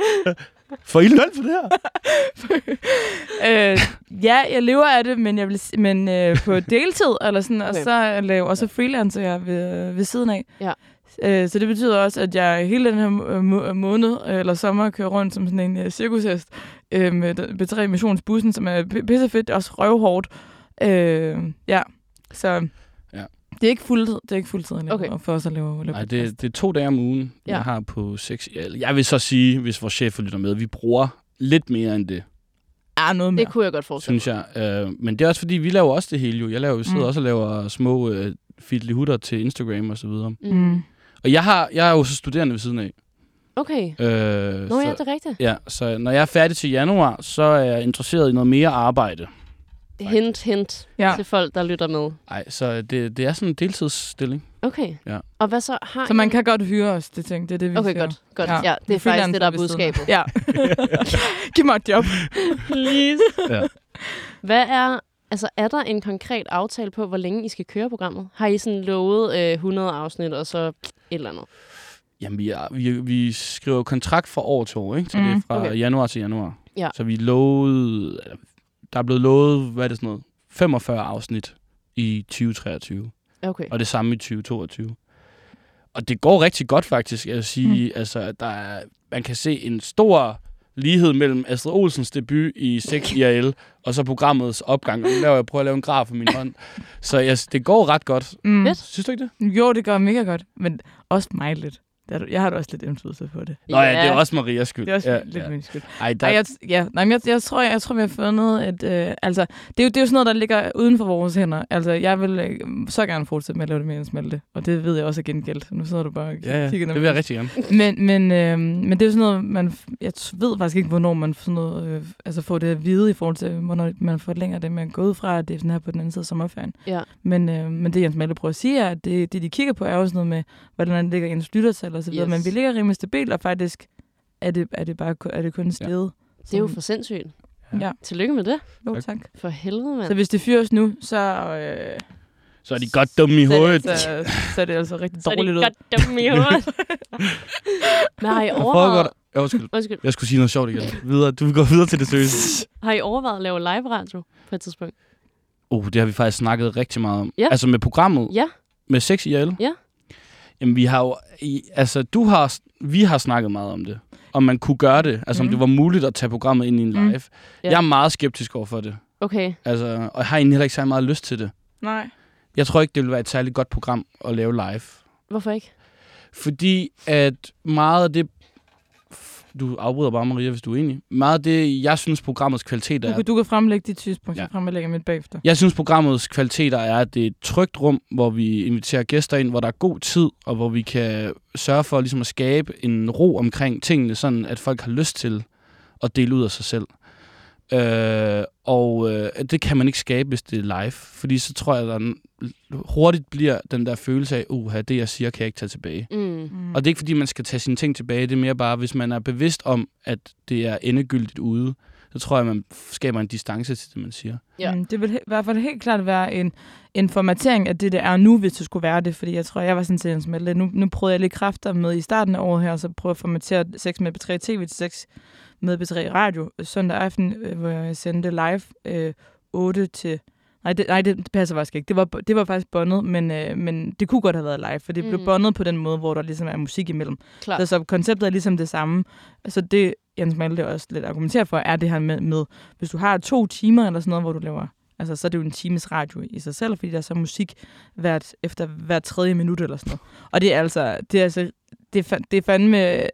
Får I løn for det her? øh, ja, jeg lever af det, men, jeg vil, s- men øh, på deltid, eller sådan, og Okay. så øh, laver og så freelancer jeg ved, ved siden af. Ja. Øh, så det betyder også, at jeg hele den her må- må- måned øh, eller sommer kører rundt som sådan en øh, cirkushest øh, med den- B3 Missionsbussen, som er p- pissefedt, også røvhårdt. Øh, ja, så... Ja. Det er ikke fuldtid, det er ikke fuldtid, jeg laver Okay. for os at lave, lave Nej, podcast. det, det er to dage om ugen, ja. Ja. jeg har på seks. ja, Jeg vil så sige, hvis vores chef lytter med, vi bruger lidt mere end det, er Ah, noget mere. Det kunne jeg godt forestille synes jeg. Øh, men det er også fordi, vi laver også det hele jo. Jeg laver, jo sidder Mm. også og laver små øh, hutter til Instagram og så videre. mig. Mm. Og jeg, har, jeg er jo så studerende ved siden af. Okay. Øh, Nå så, ja, det er rigtigt. ja, så når jeg er færdig til januar, så er jeg interesseret i noget mere arbejde. Hint, hint Ja. til folk, der lytter med. Nej, så det, det er sådan en deltidsstilling. Okay. Ja. Og hvad så har Så I- man kan godt hyre os, det ting. Det er det, vi Okay, siger. godt. godt. Ja, Ja. ja det er faktisk det, der er Freelancer ved budskabet. siden af. Ja. Giv mig et job. Please. Ja. Hvad er... Altså, er der en konkret aftale på, hvor længe I skal køre programmet? Har I sådan lovet øh, 100 afsnit og så et eller andet? Jamen, vi, er, vi, vi skriver kontrakt fra år til år, ikke? Så mm, det er Mm, fra okay. okay. januar til januar. Ja. Så vi lovede, eller, der er blevet lovet, hvad er det sådan noget, 45 afsnit i 2023, Okay. og det samme i 2022. Og det går rigtig godt faktisk, jeg vil sige, mm. altså, at der er, man kan se en stor lighed mellem Astrid Olsens debut i 6 IRL, og så programmets opgang. Og nu laver jeg prøver at lave en graf med min hånd. Så jeg, det går ret godt. Mm. Fedt. Synes du ikke det? Jo, det gør mega godt, men også mig lidt. Det er du- Jeg har da også lidt indflydelse på det. Nå ja, det er også Marias skyld. Det er også ja, ja, lidt ja. min skyld. Ej, der, Ej, jeg, ja, nej, men jeg, jeg, tror, jeg, jeg tror, vi har fundet, at øh, altså, det, er jo, det er jo sådan noget, der ligger uden for vores hænder. Altså, jeg vil øh, så gerne fortsætte med at lave det mere end smelte, og det ved jeg også er gengældt. Nu sidder du bare og ja, ja, kigger det vil jeg rigtig gerne. Men, men, øh, men det er jo sådan noget, man, f- jeg t- ved faktisk ikke, hvornår man sådan noget, øh, altså får det at vide i forhold til, hvornår man forlænger det, man går ud fra, at det er sådan her på den anden side af sommerferien. Ja. Men, øh, men det, Jens Malle prøver at sige, er, at det, det, de kigger på, er jo sådan noget med, hvordan ligger ens lyttertal og så videre. Yes. Men vi ligger rimelig stabilt, og faktisk er det, er det, bare, ku- er det kun steget. Det er jo for sindssygt. Ja. Tillykke med det. Jo, tak. For helvede, mand. Så hvis det fyres nu, så, øh, Så er de godt dumme i så, er hovedet. det, så, så er det altså rigtig så er dårligt det ud. godt dumme i hovedet. Men har I Jeg prøver godt. overvejet... Ja, undskyld. Undskyld. Jeg skulle sige noget sjovt igen. Videre. Du går videre til det seriøse. Har I overvejet at lave live radio på et tidspunkt? Oh, det har vi faktisk snakket rigtig meget om. Ja. Altså med programmet. Ja. Med 6 IRL. Ja. Jamen, vi har jo... I, altså, du har... Vi har snakket meget om det. Om man kunne gøre det. Altså, mm. om Mhm. det var muligt at tage programmet ind i en live. Mm. Mm. Mhm. Ja. Jeg er meget skeptisk over for det. Okay. Altså, og jeg har egentlig heller ikke så meget lyst til det. Nej. Jeg tror ikke, det ville være et særligt godt program at lave live. Hvorfor ikke? Fordi at meget af det... Du afbryder bare, Maria, hvis du er enig. Meget af det, jeg synes, programmets kvalitet Du, er... kan, du kan fremlægge dit synspunkt, Ja. ja. så fremlægger jeg mit bagefter. Jeg synes, programmets kvaliteter er, at det er et trygt rum, hvor vi inviterer gæster ind, hvor der er god tid, og hvor vi kan sørge for ligesom at skabe en ro omkring tingene, sådan at folk har lyst til at dele ud af sig selv. Øh, og øh, det kan man ikke skabe, hvis det er live. Fordi så tror jeg, at der n- hurtigt bliver den der følelse af, uha, det jeg siger, kan jeg ikke tage tilbage. Mm. Mm. Og det er ikke, fordi man skal tage sine ting tilbage. Det er mere bare, hvis man er bevidst om, at det er endegyldigt ude, så tror jeg, man skaber en distance til det, man siger. Ja. Ja. Mm, det vil he- i hvert fald helt klart være en, en formatering af det, det er nu, hvis det skulle være det. Fordi jeg tror, jeg var sådan set en smelte. Nu, nu prøvede jeg lidt kræfter med i starten af året her, og så prøvede at formatere 6 med B3 TV til 6 med B3 Radio søndag aften, øh, hvor jeg sendte live øh, 8 til... Nej det, nej, det passer faktisk ikke. Det var, det var faktisk bondet, men, øh, men det kunne godt have været live, for det mm. Mm. blev bondet på den måde, hvor der ligesom er musik imellem. Klart. Så, så konceptet er ligesom det samme. Så det, Jens Malte også lidt argumenterer for, er det her med, med, hvis du har to timer eller sådan noget, hvor du laver, altså så er det jo en times radio i sig selv, fordi der er så musik hvert, efter hver tredje minut eller sådan noget. Og det er altså, det er altså, det er, fa- det er fandme,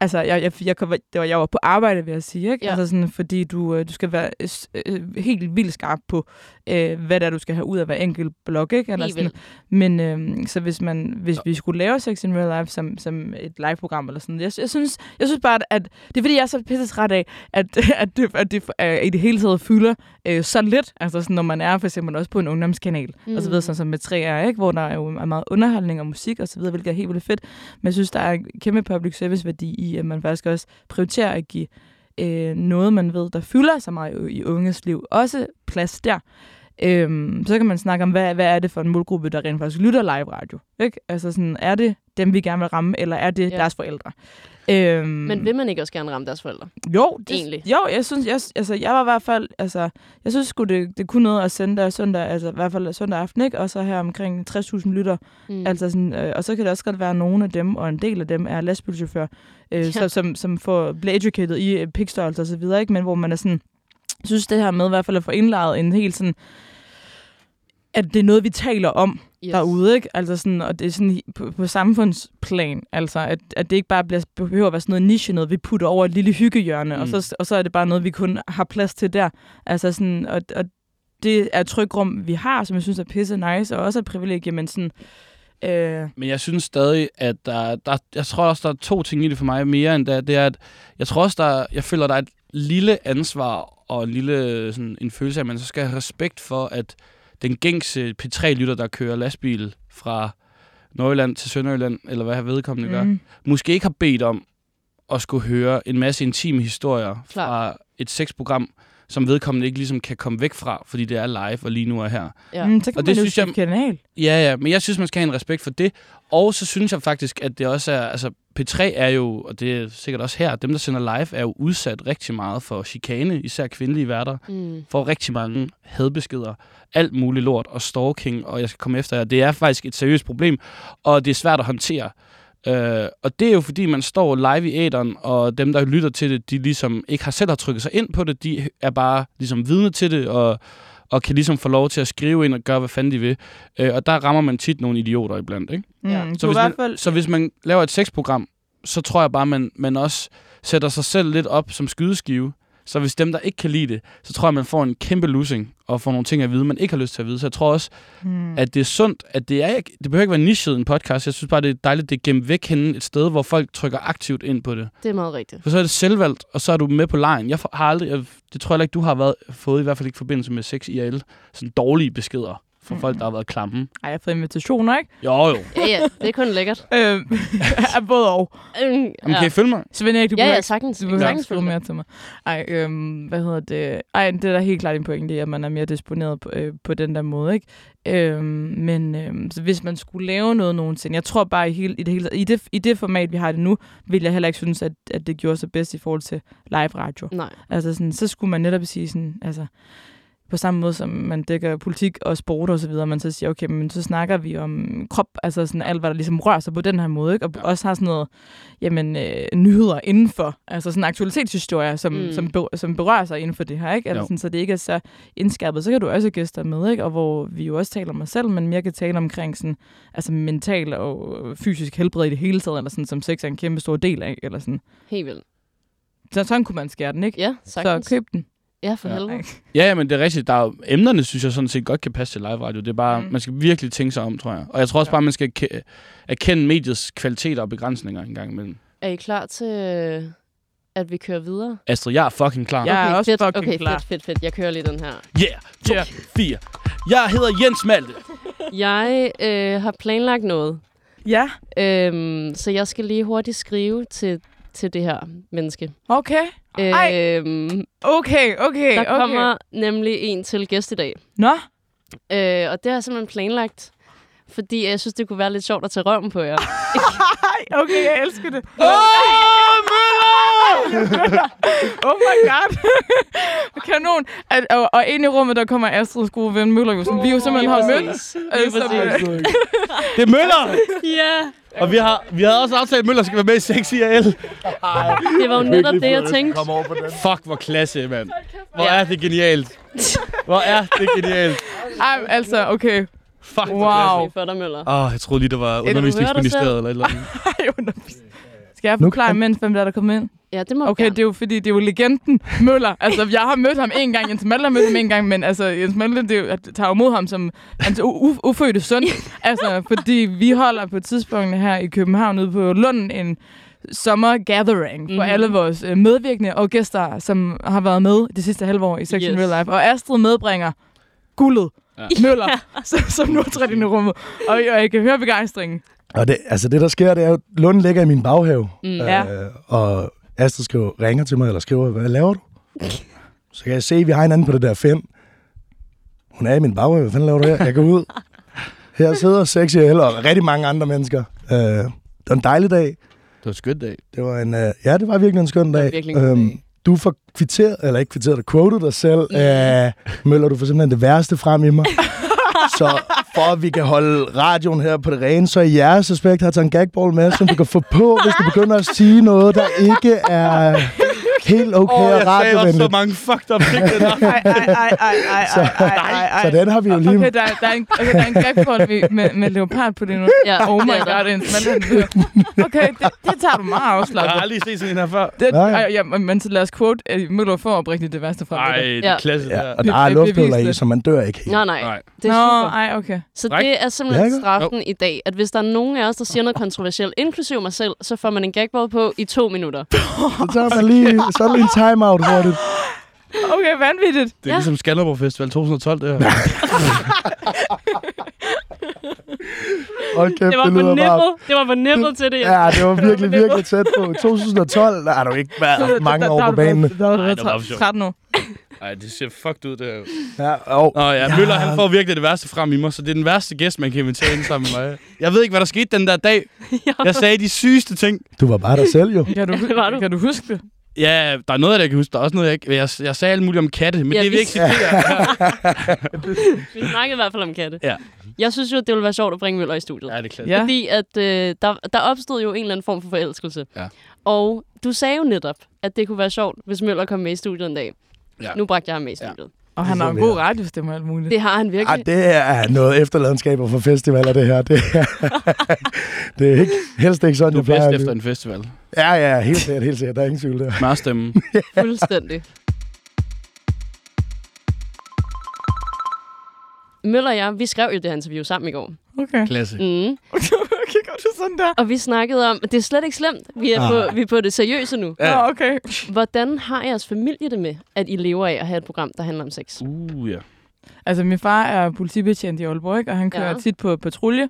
altså jeg, jeg, jeg, kom, det var, jeg var på arbejde, vil jeg sige, ikke? Ja. Ja. Altså sådan, fordi du, øh, du skal være øh, s- øh, helt vildt skarp på, øh, hvad det er, du skal have ud af hver enkelt blok, ikke? Eller Helt sådan, vildt. men øhm, så hvis, man, hvis vi skulle lave Sex in Real Life som, som et live-program eller sådan jeg, jeg, synes, jeg synes bare, at, at det er fordi, jeg er så pisse træt af, at, at, det, at det øh, i det hele taget fylder øh, så lidt, altså sådan, når man er for eksempel også på en ungdomskanal, mm. og så videre, sådan som med 3R, ikke? hvor der er jo er meget underholdning og musik og så videre, hvilket er helt vildt fedt. Men jeg synes, der er en kæmpe public service-værdi i, at man faktisk også prioriterer at give øh, noget, man ved, der fylder så meget i, i unges liv, også plads der. Øhm, så kan man snakke om, hvad, hvad er det for en målgruppe, der rent faktisk lytter live radio? Ikke? Altså sådan, er det dem, vi gerne vil ramme, eller er det Ja. ja. deres forældre? Øhm, Men vil man ikke også gerne ramme deres forældre? jo, det, Egentlig. Jo, jeg synes, jeg, altså, jeg var i hvert fald, altså, jeg synes sgu, det, det kunne noget at sende der søndag, altså i hvert fald søndag aften, ikke? Og så her omkring 60.000 lytter. Mm. Mm. Altså sådan, øh, og så kan det også godt være, at nogle af dem, og en del af dem, er lastbilchauffør, øh, Ja. ja. så, som, som får, bliver educated i øh, pikstørrelse og så videre, ikke? Men hvor man er sådan, jeg synes det her med i hvert fald at få indlejet en helt sådan, at det er noget, vi taler om, yes. derude, ikke? Altså sådan, og det er sådan i- på, på samfundsplan, altså, at, at det ikke bare bliver, behøver at være sådan noget niche, noget vi putter over et lille hyggehjørne, mm. og, Mm. så, og så er det bare noget, vi kun har plads til der. Altså sådan, og, og det er et trykrum, vi har, som jeg synes er pisse nice, og også er et privilegie, men sådan, øh, Men jeg synes stadig, at der, der, jeg tror også, der er to ting i det for mig mere end det. Det er, at jeg tror også, der, jeg føler, der er et lille ansvar og en lille sådan, en følelse af, at man så skal have respekt for, at den gængse P3-lytter, der kører lastbil fra Nordjylland til Sønderjylland, eller hvad vedkommende gør, mm, måske ikke har bedt om at skulle høre en masse intime historier Klart. fra et sexprogram, som vedkommende ikke ligesom kan komme væk fra, fordi det er live og lige nu er her. Ja. Mm, så kan Og og det man det jo synes jeg- skifte kanal. Ja, ja, men jeg synes, man skal have en respekt for det. Og så synes jeg faktisk, at det også er... Altså, P3 er jo, og det er sikkert også her, dem, der sender live, er jo udsat rigtig meget for chikane, især kvindelige værter. Mm. Får rigtig mange hadbeskeder, alt muligt lort og stalking, og jeg skal komme efter jer. Det er faktisk et seriøst problem, og det er svært at håndtere. Øh, og det er jo fordi, man står live i æderen, og dem, der lytter til det, de ligesom ikke har selv har trykket sig ind på det, de er bare ligesom vidne til det, og, og kan ligesom få lov til at skrive ind og gøre, hvad fanden de vil. Øh, og der rammer man tit nogle idioter iblandt, ikke? Mm, Ja. ja. Så i hvis, hvert man, fald... så hvis man laver et sexprogram, så tror jeg bare, man, man også sætter sig selv lidt op som skydeskive. Så hvis dem, der ikke kan lide det, så tror jeg, man får en kæmpe losing og får nogle ting at vide, man ikke har lyst til at vide. Så jeg tror også, Mm. at det er sundt, at det, er, ikke- det behøver ikke være nichet en podcast. Jeg synes bare, det er dejligt, det er gemt væk henne et sted, hvor folk trykker aktivt ind på det. Det er meget rigtigt. For så er det selvvalgt, og så er du med på lejen. Jeg har aldrig, jeg, det tror jeg heller ikke, du har været, fået, i hvert fald ikke i forbindelse med sex IRL, sådan dårlige beskeder fra Mm. folk, der har været klamme. Ej, jeg har fået invitationer, ikke? Jo, jo. Ja, ja, det er kun lækkert. Øh, både og. Øhm, Jamen, ja. kan I følge mig? Svend Erik, du ja, behøver ja, ikke- sagtens. du behøver ikke sagtens skrive mere til mig. Ej, øhm, hvad hedder det? Ej, det er da helt klart en pointe, det er, at man er mere disponeret på, øh, på den der måde, ikke? Øhm, men øhm, så hvis man skulle lave noget nogensinde, jeg tror bare i, hele, i, det, hele, i, det, i det format, vi har det nu, vil jeg heller ikke synes, at, at det gjorde sig bedst i forhold til live radio. Nej. Altså sådan, så skulle man netop sige sådan, altså på samme måde som man dækker politik og sport og så videre, man så siger, okay, men så snakker vi om krop, altså sådan alt, hvad der ligesom rører sig på den her måde, ikke? og ja. også har sådan noget, jamen, øh, nyheder indenfor, altså sådan aktualitetshistorier, som, Mm. mm. som, be, som berører sig inden for det her, ikke? Altså Jo. sådan, så det ikke er så indskærpet, så kan du også have gæster med, ikke? og hvor vi jo også taler om os selv, men mere kan tale omkring sådan, altså mental og fysisk helbred i det hele taget, eller sådan, som sex er en kæmpe stor del af, eller sådan. Helt vildt. Så sådan kunne man skære den, ikke? Ja, sagtens. Så køb den. Ja, for Ja. helvede. Ja, ja, men det er rigtigt. Der er jo, emnerne synes jeg sådan set godt kan passe til live radio. Det er bare, mm. Mm. man skal virkelig tænke sig om, tror jeg. Og jeg tror også ja. bare, man skal ke- erkende mediets kvaliteter og begrænsninger en gang imellem. Er I klar til, øh, at vi kører videre? Astrid, jeg er fucking klar. Jeg er også fedt. fucking okay, klar. fedt, fedt, fedt. Jeg kører lige den her. Yeah, to, yeah. fire. Jeg hedder Jens Malte. Jeg øh, har planlagt noget, Ja, øhm, så jeg skal lige hurtigt skrive til, til det her menneske. okay. Ej. Øhm, Okay, okay, der okay. kommer nemlig en til gæst i dag, Nå, øh, og det har jeg simpelthen planlagt, fordi jeg synes, det kunne være lidt sjovt at tage røven på jer. Ej, okay, jeg elsker det. Åh, oh, Møller! Oh my god. Kanon. At, og, og ind i rummet, der kommer Astrids gode ven Møller, jo, som vi jo simpelthen har mødt. Øh, som, øh, Det er Møller! Ja, Og vi har, vi havde også aftalt, at Møller skal være med i 6 IRL. det var jo netop det, jeg tænkte. Kom over på den. Fuck, hvor klasse, mand. Hvor er det genialt. Hvor er det genialt. ej, altså, okay. Fuck, hvor Wow. klasse. Det er for dig, Møller. Åh, oh, jeg troede lige, det var dig undervisningsministeriet eller et eller andet. Ej, undervis. Skal jeg forklare imens, hvem der er, der kommet ind? Ja, det må du Okay, gerne. det er jo fordi, det er jo legenden Møller. Altså, jeg har mødt ham en gang, Jens Malte har mødt ham en gang, men altså, Jens Malte det er jo, jeg tager jo mod ham som hans u- u- ufødte søn. Altså, fordi vi holder på et tidspunkt her i København ude på Lund en sommergathering for Mhm. mm-hmm. alle vores øh, medvirkende og gæster, som har været med de sidste halve år i Sex yes. Yes. in Real Life. Og Astrid medbringer guldet. Ja. Ja. Møller, som, som nu er trådt ind i rummet. Og, og jeg kan høre begejstringen. Og det, altså det, der sker, det er jo, at Lund ligger i min baghave. Mm. Øh, Ja. Og Astrid skriver, ringer til mig, eller skriver, hvad laver du? Så kan jeg se, at vi har hinanden på det der fem. Hun er i min baghave, hvad fanden laver du her? Jeg går ud. Her sidder sexy eller og rigtig mange andre mennesker. Øh, det var en dejlig dag. Det var en skøn dag. Det var en, øh, ja, det var virkelig en skøn var dag. Øhm, virkelig en god dag. du får kvitteret, eller ikke kvitteret, du quoted dig selv. Øh, Møller, du får simpelthen det værste frem i mig. så for at vi kan holde radioen her på det rene, så i jeres aspekt har jeg taget en gagball med, som du kan få på, hvis du begynder at sige noget, der ikke er helt okay Åh, oh, og jeg sagde også så radiovenligt. mange fucked up ting den aften. Ej, ej, ej, ej, ej, ej, ej, ej. Så den har vi jo lige... Okay, der, der, er en, okay, der er en grebkort med, med, med leopard på det nu. Ja, Oh det my er der. god, det er en smalt Okay, det, det tager du Jeg meget har afslappet. aldrig set sådan en her før. Det, Nej. ej, ja, men men så lad os quote, at Møller får oprigtigt det værste fra Nej, mig. det Ja. er klasse Ja, der. og Det- der er det lufthuller beviser i, det. så man dør ikke helt. Nej, nej. Nej. Det er Nå, super. ej, okay. Så Korrekt? det er Ja, simpelthen ikke? straffen i dag, at hvis der er nogen af os, der siger noget kontroversielt, inklusive mig selv, så får man en gagball på i to minutter. Så tager man lige, så er der lige en timeout hurtigt. Okay, vanvittigt. Det er ja. ligesom Skanderborg Festival 2012, det her. Hold kæft, Det var det på lyder bare nippet. Det var på nippet til det. Ja. Ja, det var virkelig, virkelig tæt på. 2012, der har du ikke været mange Der- år der- på banen. Der, der, der, Ej, der, det der var var sjovt. 13 år. Ej, det ser fucked ud, det her. Ja, og, Nå ja, Møller, han får virkelig det værste frem i mig, så det er den værste gæst, man kan invitere ind sammen med mig. Jeg ved ikke, hvad der skete den der dag. Jeg sagde de sygeste ting. du var bare dig selv jo. Kan du, det var du. kan du huske det? Ja, der er noget af det, jeg kan huske. Der er også noget, jeg ikke... Jeg, jeg sagde alt muligt om katte, men Ja, ja, det er vi- vigtigt. Ja. Vi snakkede i hvert fald om katte. Ja. Jeg synes jo, at det ville være sjovt at bringe Møller i studiet. ja, det er klart. Ja. Fordi at, øh, der, der opstod jo en eller anden form for forelskelse. Ja. Og du sagde jo netop, at det kunne være sjovt, hvis Møller kom med i studiet en dag. Ja. Nu bragte jeg ham med i Ja. studiet. Og han Det har får en vi god her. radiostemme og alt muligt. Det har han Ej, virkelig. det er noget efterladenskaber for festivaler, det her. Det er, det er ikke, helst ikke sådan, Du er jeg plejer. bedst at efter lyde. en festival. Ja, ja, helt sikkert, helt sikkert. Der er ingen tvivl der. Mørstemme. Fuldstændig. Møller og jeg, vi skrev jo det her interview sammen i går. Okay. Klasse. Mm. okay, gør du sådan der? Og vi snakkede om, det er slet ikke slemt, vi er, på, Ah. vi er på det seriøse nu. Ja. Nå, okay. Hvordan har jeres familie det med, at I lever af at have et program, der handler om sex? Uh, ja. Altså, min far er politibetjent i Aalborg, ikke? og han kører Ja. ja. tit på patrulje.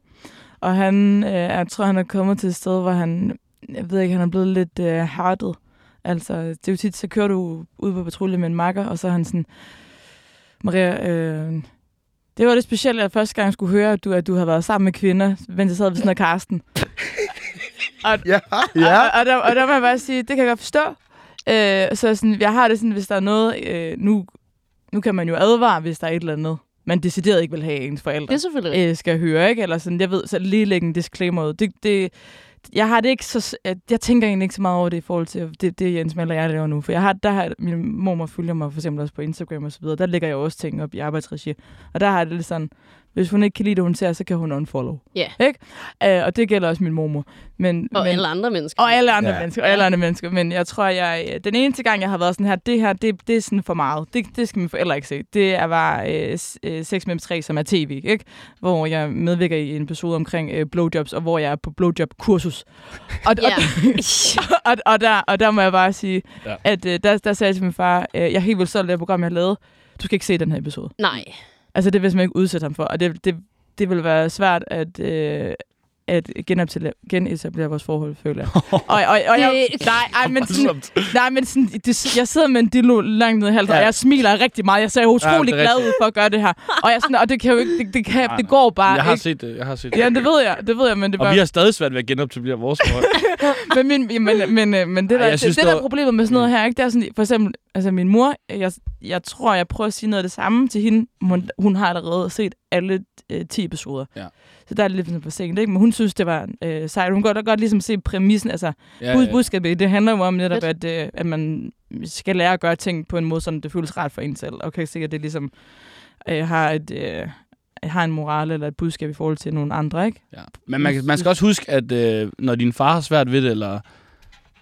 Og han, øh, jeg tror, han er kommet til et sted, hvor han, jeg ved ikke, han er blevet lidt øh, hardet. Altså, det er jo tit, så kører du ud på patrulje med en makker, og så er han sådan, Maria, øh, det var det specielle, at første gang jeg skulle høre, at du, at du havde været sammen med kvinder, mens jeg sad ved sådan af Karsten. Ja, ja. Og, og, der, og der må jeg bare sige, det kan jeg godt forstå. Øh, så sådan, jeg har det sådan, hvis der er noget... Øh, nu, nu kan man jo advare, hvis der er et eller andet, man decideret ikke vil have ens Det er forældre selvfølgelig rigtigt. øh, skal høre, ikke? Eller sådan, jeg ved, så lige lægge en disclaimer ud. Det, det, jeg har det ikke så... s- at- Jeg tænker egentlig ikke så meget over det i forhold til det, det Jens Maller og jeg laver nu. For jeg har, der har, min mormor følger mig for eksempel også på Instagram og så videre. Der lægger jeg også ting op i arbejdsregi. Og der har jeg det lidt sådan, hvis hun ikke kan lide det, hun ser, så kan hun unfollow. Ja. Ikke? Øh, og det gælder også min mormor. Men, Øh, Og men, alle andre mennesker. og alle andre Ja. ja. mennesker, og alle andre mennesker. Men jeg tror, jeg øh, den eneste gang, jeg har været sådan her, det her, det, det er sådan for meget. Det, det skal mine forældre ikke se. Det er bare øh, s- øh, 6 med 3, som er tv, ikke? Hvor jeg medvirker i en episode omkring øh, blowjobs, og hvor jeg er på blowjob-kursus. Og, Ja. og, og, og, der, og der må jeg bare sige, Ja. ja. at øh, der, der sagde jeg til min far, øh, jeg er helt vildt stolt af det program, jeg har lavet. Du skal ikke se den her episode. Nej. Altså, det vil jeg simpelthen ikke udsætte ham for, og det, det, det vil være svært at, øh, at genoptale- genetablere vores forhold, føler jeg. og, og, og, jeg Det- nej, ej, men sådan, nej, men sådan, det, jeg sidder med en dildo langt ned i halsen, ja. og jeg smiler rigtig meget. Jeg ser utrolig det ja, er glad ud for at gøre det her. Og, jeg, sådan, og det kan jo ikke, det, det, kan, det går bare Jeg har ikke. set det. Jeg har set det. Ja, det ved jeg, det ved jeg, men det Og var... vi har stadig svært ved at genoptimere vores forhold. Men, min, ja, men, men, øh, men det, Ej, der, jeg Ej, synes, Mm. synes, det, det det var- der er problemet med sådan noget her, ikke? det er sådan, for eksempel, altså min mor, jeg, jeg tror, jeg prøver at sige noget af det samme til hende. Hun, hun har allerede set alle øh, 10 episoder. Ja. Så der er det lidt sådan for sent, ikke? Men hun synes, det var øh, sejt. Hun kan godt, godt ligesom se præmissen, altså Ja, ja, bud, budskabet. i Det handler jo om netop, Fedt. at, øh, at man skal lære at gøre ting på en måde, som det føles rart for en selv. Og kan ikke sikkert, det ligesom øh, har et... Øh, har en moral eller et budskab i forhold til nogle andre, ikke? Ja. Men man, kan- man skal også huske, at øh, når din far har svært ved det, eller,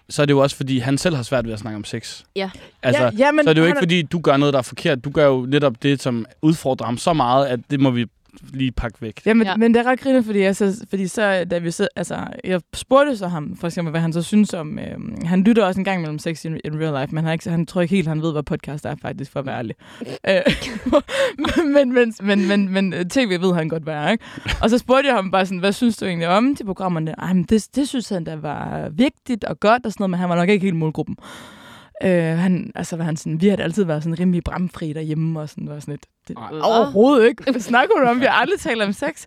så er det jo også, fordi han selv har svært ved at snakke om sex. Ja. Altså, Ja, ja, men så er det jo han ikke, er- fordi du gør noget, der er forkert. Du gør jo netop det, som udfordrer ham så meget, at det må vi lige pakke væk. Ja, men, Ja. ja. men det er ret griner, fordi, jeg så, fordi så, da vi så, altså, jeg spurgte så ham, for eksempel, hvad han så synes om, øh, han lytter også en gang mellem sex in, in real life, men han, har ikke, han tror ikke helt, han ved, hvad podcast er faktisk, for at være ærlig. Øh, men, men, men, men, men, øh, tv ved han godt, hvad er, ikke? Og så spurgte jeg ham bare sådan, hvad synes du egentlig om de programmerne? Ej, men det, det synes han, der var vigtigt og godt og sådan noget, men han var nok ikke helt målgruppen. Øh, han, altså, var han sådan, vi har da altid været sådan rimelig bramfri derhjemme og sådan, var sådan lidt, det, Nej. overhovedet ikke. Hvad snakker du om? Vi har aldrig talt om sex.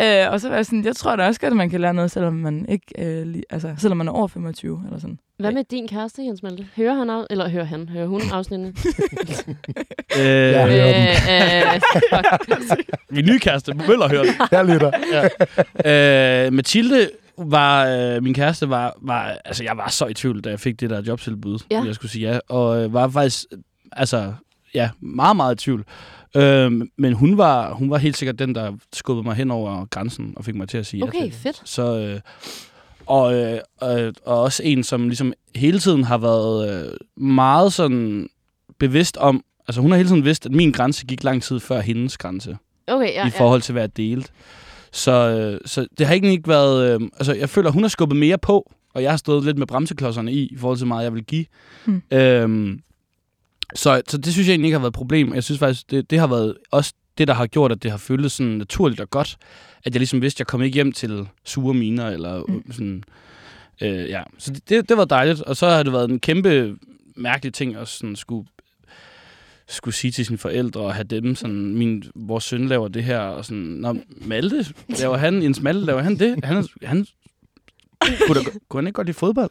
Øh, og så var jeg sådan, jeg tror da også godt, at man kan lære noget, selvom man, ikke, øh, li- altså, selvom man er over 25 eller sådan. Hvad med din kæreste, Jens Malte? Hører han, af, eller hører han, hører hun afsnittene? Jeg Øh, hører dem. øh, fuck. min nye kæreste, Møller, hører det. Jeg lytter. øh, Mathilde var, øh, min kæreste var, var, altså jeg var så i tvivl, da jeg fik det der jobtilbud, Ja. ja. jeg skulle sige ja, og øh, var faktisk, øh, altså, ja, meget, meget i tvivl. Øh, men hun var, hun var helt sikkert den, der skubbede mig hen over grænsen og fik mig til at sige ja Okay, til det. fedt. Så, øh, og, øh, og, og også en, som ligesom hele tiden har været øh, meget sådan bevidst om, altså hun har hele tiden vidst, at min grænse gik lang tid før hendes grænse Okay, ja, ja, i forhold til at være delt. Så, øh, så det har egentlig ikke været... Øh, altså, jeg føler, hun har skubbet mere på, og jeg har stået lidt med bremseklodserne i, i forhold til, hvor meget jeg vil give. Hmm. Øhm, så, så det synes jeg egentlig ikke har været et problem. Jeg synes faktisk, det, det har været også det, der har gjort, at det har føltes sådan naturligt og godt, at jeg ligesom vidste, at jeg kom ikke hjem til sure miner, eller mm. sådan... Øh, ja, så det, det var dejligt, og så har det været en kæmpe mærkelig ting at sådan skulle skulle sige til sine forældre og have dem sådan, min, vores søn laver det her, og sådan, Nå, Malte, laver han, en Malte, laver han det? Han, er- han kunne, da, kunne han ikke godt lide fodbold?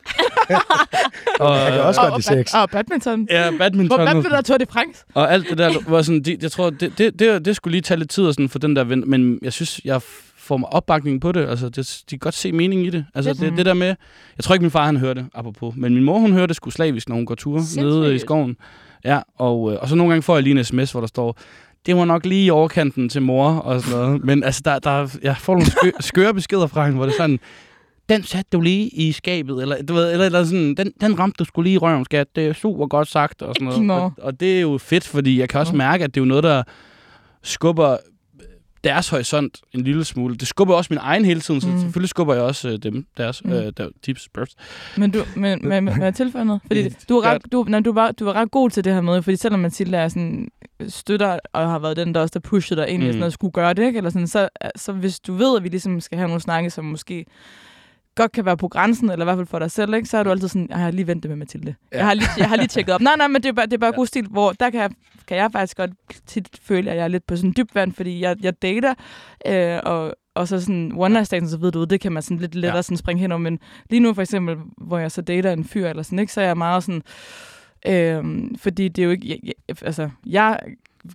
og, Jeg kan også Og, godt og, lide sex. bad- og badminton. Ja, Hvor badminton. badminton og Tour de France? Og alt det der, hvor sådan, de, jeg tror, det, det, det, det skulle lige tage lidt tid og sådan, for den der ven, men jeg synes, jeg f- får mig opbakning på det. Altså, det, de kan godt se mening i det. Altså, det, det der med, jeg tror ikke, min far han hørte det, apropos, men min mor, hun hører det sgu slavisk, når hun går ture nede i Sindssygt. skoven. Ja, og, øh, og så nogle gange får jeg lige en sms, hvor der står, det var nok lige i overkanten til mor og sådan noget. Men altså, der, der, jeg får nogle skø, skøre beskeder fra hende, hvor det er sådan, den satte du lige i skabet, eller, du ved, eller, eller sådan, den, den ramte du skulle lige i røven, skat. Det er super godt sagt, og sådan noget. Nå. Og, og det er jo fedt, fordi jeg kan også mærke, at det er jo noget, der skubber øh, deres horisont en lille smule. Det skubber også min egen hele tiden, så Mm. mm. selvfølgelig skubber jeg også øh, dem, deres, Mm. mm. øh, der, tips, burps. Men du, men, men, men, jeg tilføjer noget? Fordi du er, ret, du, nej, du, var, du var ret god til det her med, fordi selvom Mathilde er sådan, støtter og har været den, der også der pushede dig ind i Mm. sådan noget, skulle gøre det, ikke? Eller sådan, så, så hvis du ved, at vi ligesom skal have nogle snakke, som måske godt kan være på grænsen, eller i hvert fald for dig selv, ikke? så er du altid sådan, jeg har lige ventet med Mathilde. Ja. Jeg, har lige, jeg har lige tjekket op. Nej, nej, men det er bare, det er bare ja. god stil, hvor der kan jeg, kan jeg faktisk godt tit føle, at jeg er lidt på sådan dyb vand, fordi jeg, jeg dater, øh, og, og så sådan one night stands, så ved du, det kan man sådan lidt lettere ja. Ja. sådan springe hen over, men lige nu for eksempel, hvor jeg så dater en fyr eller sådan, ikke, så er jeg meget sådan, Øhm, fordi det er jo ikke... Jeg, jeg, altså, jeg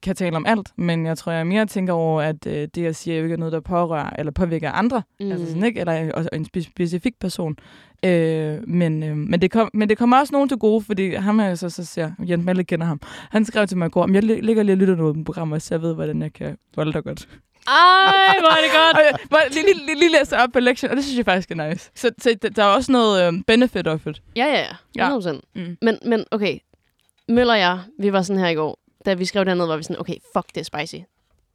kan tale om alt, men jeg tror, jeg mere tænker over, at øh, det, jeg siger, jo ikke er noget, der pårører eller påvirker andre. Mm. Altså sådan, ikke? Eller en, også en spe- specifik person. Øh, men, øh, men, det kom, men det kommer også nogen til gode, fordi ham her, så, så ser Jens Malle kender ham. Han skrev til mig i går, om jeg lig- ligger lige og lytter noget program, så jeg ved, hvordan jeg kan volde dig godt. Ej, hvor er det godt. Og jeg må lige, lige, lige, lige læse op på lektion, og det synes jeg faktisk er nice. Så, så der- der er også noget øh, benefit of it. Ja, ja, Ja. ja. 100%. Mm. Mm. Men, men okay, Møller og jeg, vi var sådan her i går, da vi skrev dernede, var vi sådan, okay, fuck, det er spicy,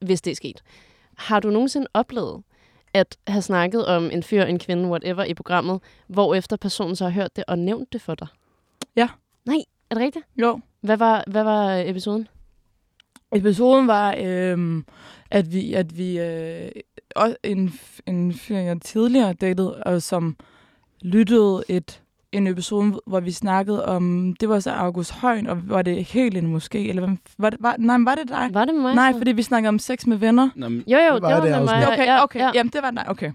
hvis det er sket. Har du nogensinde oplevet at have snakket om en fyr, en kvinde, whatever, i programmet, hvor efter personen så har hørt det og nævnt det for dig? Ja. Nej, er det rigtigt? Jo. Hvad var, hvad var øh, episoden? Episoden var, øhm, at vi, at vi øh, også en, f- en fyr, jeg tidligere datede, og som lyttede et, en episode, hvor vi snakkede om, det var så August Højen, og var det helt en måske, eller hvem f- var det, var, nej, men var det dig? Var det med mig? Nej, så? fordi vi snakkede om sex med venner. Nå, men, Jo, jo, Det det var var, det det med mig. afsnit. Okay, okay, Ja, ja. jamen det var dig, okay.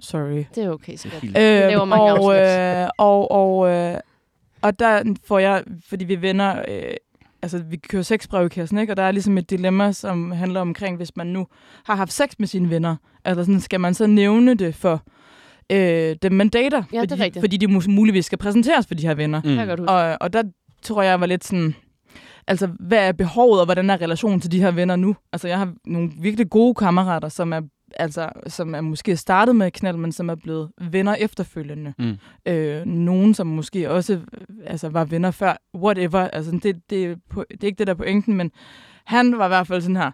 Sorry. Det er okay, sikkert. helt- Øh, laver mange og, afsnit. øh, og, og, øh, og der får jeg, fordi vi vender, øh, altså vi kører sexbrevkassen, ikke? og der er ligesom et dilemma, som handler omkring, hvis man nu har haft sex med sine venner, altså sådan, skal man så nævne det for øh, dem, man dater? Ja, det er fordi, rigtigt. Fordi de mus- muligvis skal præsenteres for de her venner. Mm. Jeg kan godt huske. Og, og der tror jeg, jeg var lidt sådan, altså hvad er behovet, og hvordan er relationen til de her venner nu? Altså jeg har nogle virkelig gode kammerater, som er altså, som er måske startet med knald, men som er blevet venner efterfølgende. Mm. Øh, nogen, som måske også øh, altså, var venner før, whatever. Altså, det, det, er på- det er ikke det, der er pointen, men han var i hvert fald sådan her,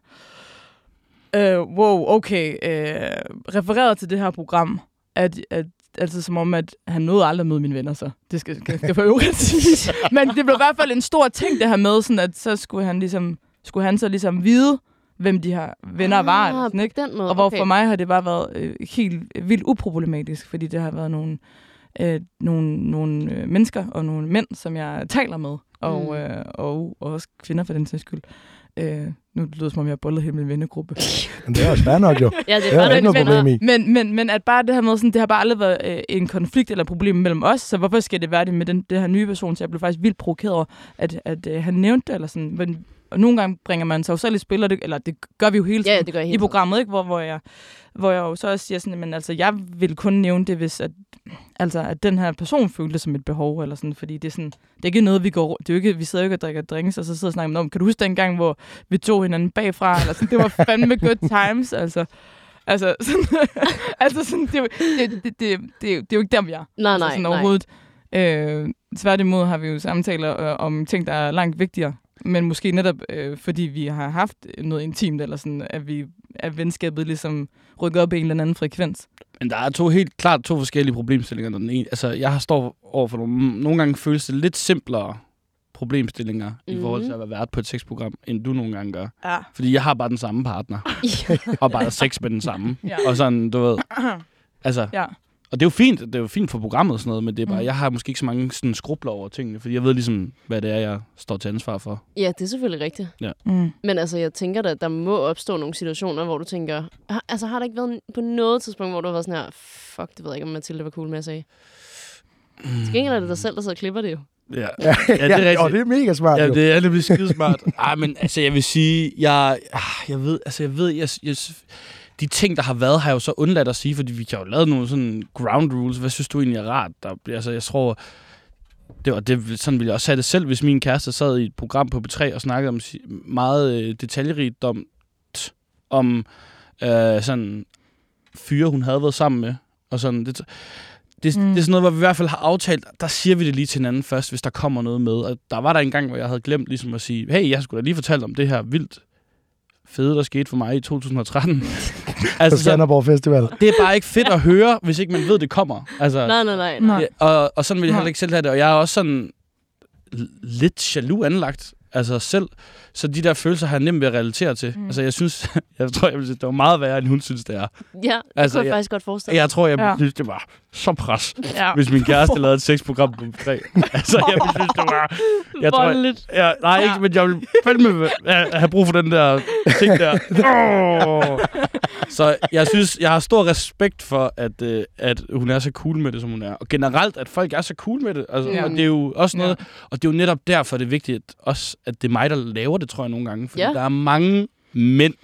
øh, wow, okay, øh, refereret til det her program, at, at Altså som om, at han nåede aldrig at møde mine venner, så det skal, skal, skal for øvrigt sige. Men det blev i hvert fald en stor ting, det her med, sådan at så skulle han, ligesom, skulle han så ligesom vide, hvem de her venner Ah, var. Eller sådan, ikke? På den måde, Og hvor okay. for mig har det bare været øh, helt vildt uproblematisk, fordi det har været nogle, øh, nogle, nogle øh, mennesker og nogle mænd, som jeg taler med, og, Mm. øh, og, og også kvinder for den sags skyld. Øh, nu lyder det, som om jeg har bollet hele min vennegruppe. Men det er også fair nok, jo. Ja, det Det er er der bare ikke noget problem i. Men, men, men at bare det her med, sådan, det har bare aldrig været øh, en konflikt eller et problem mellem os, så hvorfor skal det være det med den, det her nye person? Så jeg blev faktisk vildt provokeret over, at, at øh, han nævnte det, eller sådan. Men, og nogle gange bringer man sig jo selv i spil, og det, eller det gør vi jo hele Ja, tiden det gør jeg i helt. programmet, ikke? Hvor, hvor, jeg, hvor jeg jo så også siger sådan, men altså, jeg vil kun nævne det, hvis at, altså, at den her person følte det som et behov, eller sådan, fordi det er sådan, det er ikke noget, vi går, det er jo ikke, vi sidder jo ikke og drikker drinks, og så sidder og snakker om, kan du huske dengang, hvor vi tog hinanden bagfra, eller sådan, det var fandme good times, altså. Altså, sådan, altså sådan, det, er jo- det, det, det, det, det, er jo- det er jo ikke dem, jeg er. Nej, altså, nej, sådan nej. overhovedet. Øh, tværtimod har vi jo samtaler øh, om ting, der er langt vigtigere. Men måske netop, øh, fordi vi har haft noget intimt, eller sådan, at, vi, at venskabet ligesom rykker op i en eller anden frekvens. Men der er to helt klart to forskellige problemstillinger. når Den ene, altså, jeg har står over for nogle, nogle gange føles det lidt simplere problemstillinger mm. i Mhm. forhold til at være vært på et sexprogram, end du nogle gange gør. Ja. Fordi jeg har bare den samme partner, og bare sex med den samme. Ja. Og sådan, du ved. Altså, ja. Og det er jo fint, det er jo fint for programmet og sådan noget, men det er Mm. bare, jeg har måske ikke så mange sådan, skrubler over tingene, fordi jeg ved ligesom, hvad det er, jeg står til ansvar for. Ja, det er selvfølgelig rigtigt. Mm. Men altså, jeg tænker da, at der må opstå nogle situationer, hvor du tænker... Har- Altså, har der ikke været n- på noget tidspunkt, hvor du har været sådan her... Fuck, det ved jeg ikke, om Mathilde var cool med at sige. Til gengæld er det dig selv, der sidder og klipper det jo. Ja, Ja, det er rigtigt. Og det er mega smart. Ja, jo. det er nemlig skidesmart. Ej, men altså, jeg vil sige, jeg, ah, jeg ved, altså, jeg ved, jeg, jeg, de ting, der har været, har jeg jo så undladt at sige, fordi vi har jo lavet nogle sådan ground rules. Hvad synes du egentlig er rart? Der, altså, jeg tror, det var, det, sådan ville jeg også have det selv, hvis min kæreste sad i et program på B3 og snakkede om si- meget øh, detaljerigt om, t- om øh, sådan fyre, hun havde været sammen med. Og sådan, det, det, mm. Mm. det er sådan noget, hvor vi i hvert fald har aftalt, der siger vi det lige til hinanden først, hvis der kommer noget med. Og der var der en gang, hvor jeg havde glemt ligesom at sige, hey, jeg skulle da lige fortælle om det her vildt fede, der skete for mig i 2013. På altså, sådan, Sanderborg Festival. det er bare ikke fedt at høre, hvis ikke man ved, det kommer. Altså, Nej, nej, nej. nej. Nej. Ja, og, og sådan vil jeg Nej. heller ikke selv have det. Og jeg er også sådan l- lidt jaloux anlagt, altså selv. Så de der følelser har jeg nemt ved at relatere til. Mm. Altså jeg synes, jeg tror, jeg vil sige, det var meget værre, end hun synes, det er. Ja, det Altså, altså, kunne jeg ja. faktisk godt forestille mig. Jeg tror, jeg ja. Ja. synes, det var så pres, Ja. hvis min kæreste lavede et sexprogram på tre. altså jeg ville synes, det var... Jeg tror, jeg, Voldeligt. ja, nej, ikke, men jeg vil fandme øh, have have brug for den der ting der. Åh. Så jeg synes, jeg har stor respekt for, at, øh, at hun er så cool med det, som hun er. Og generelt, at folk er så cool med det. Altså, ja. Ja. Og det er jo også noget... Ja. Og det er jo netop derfor, det er vigtigt at også, at det er mig, der laver det, tror jeg, nogle gange. Fordi ja. Ja. der er mange mænd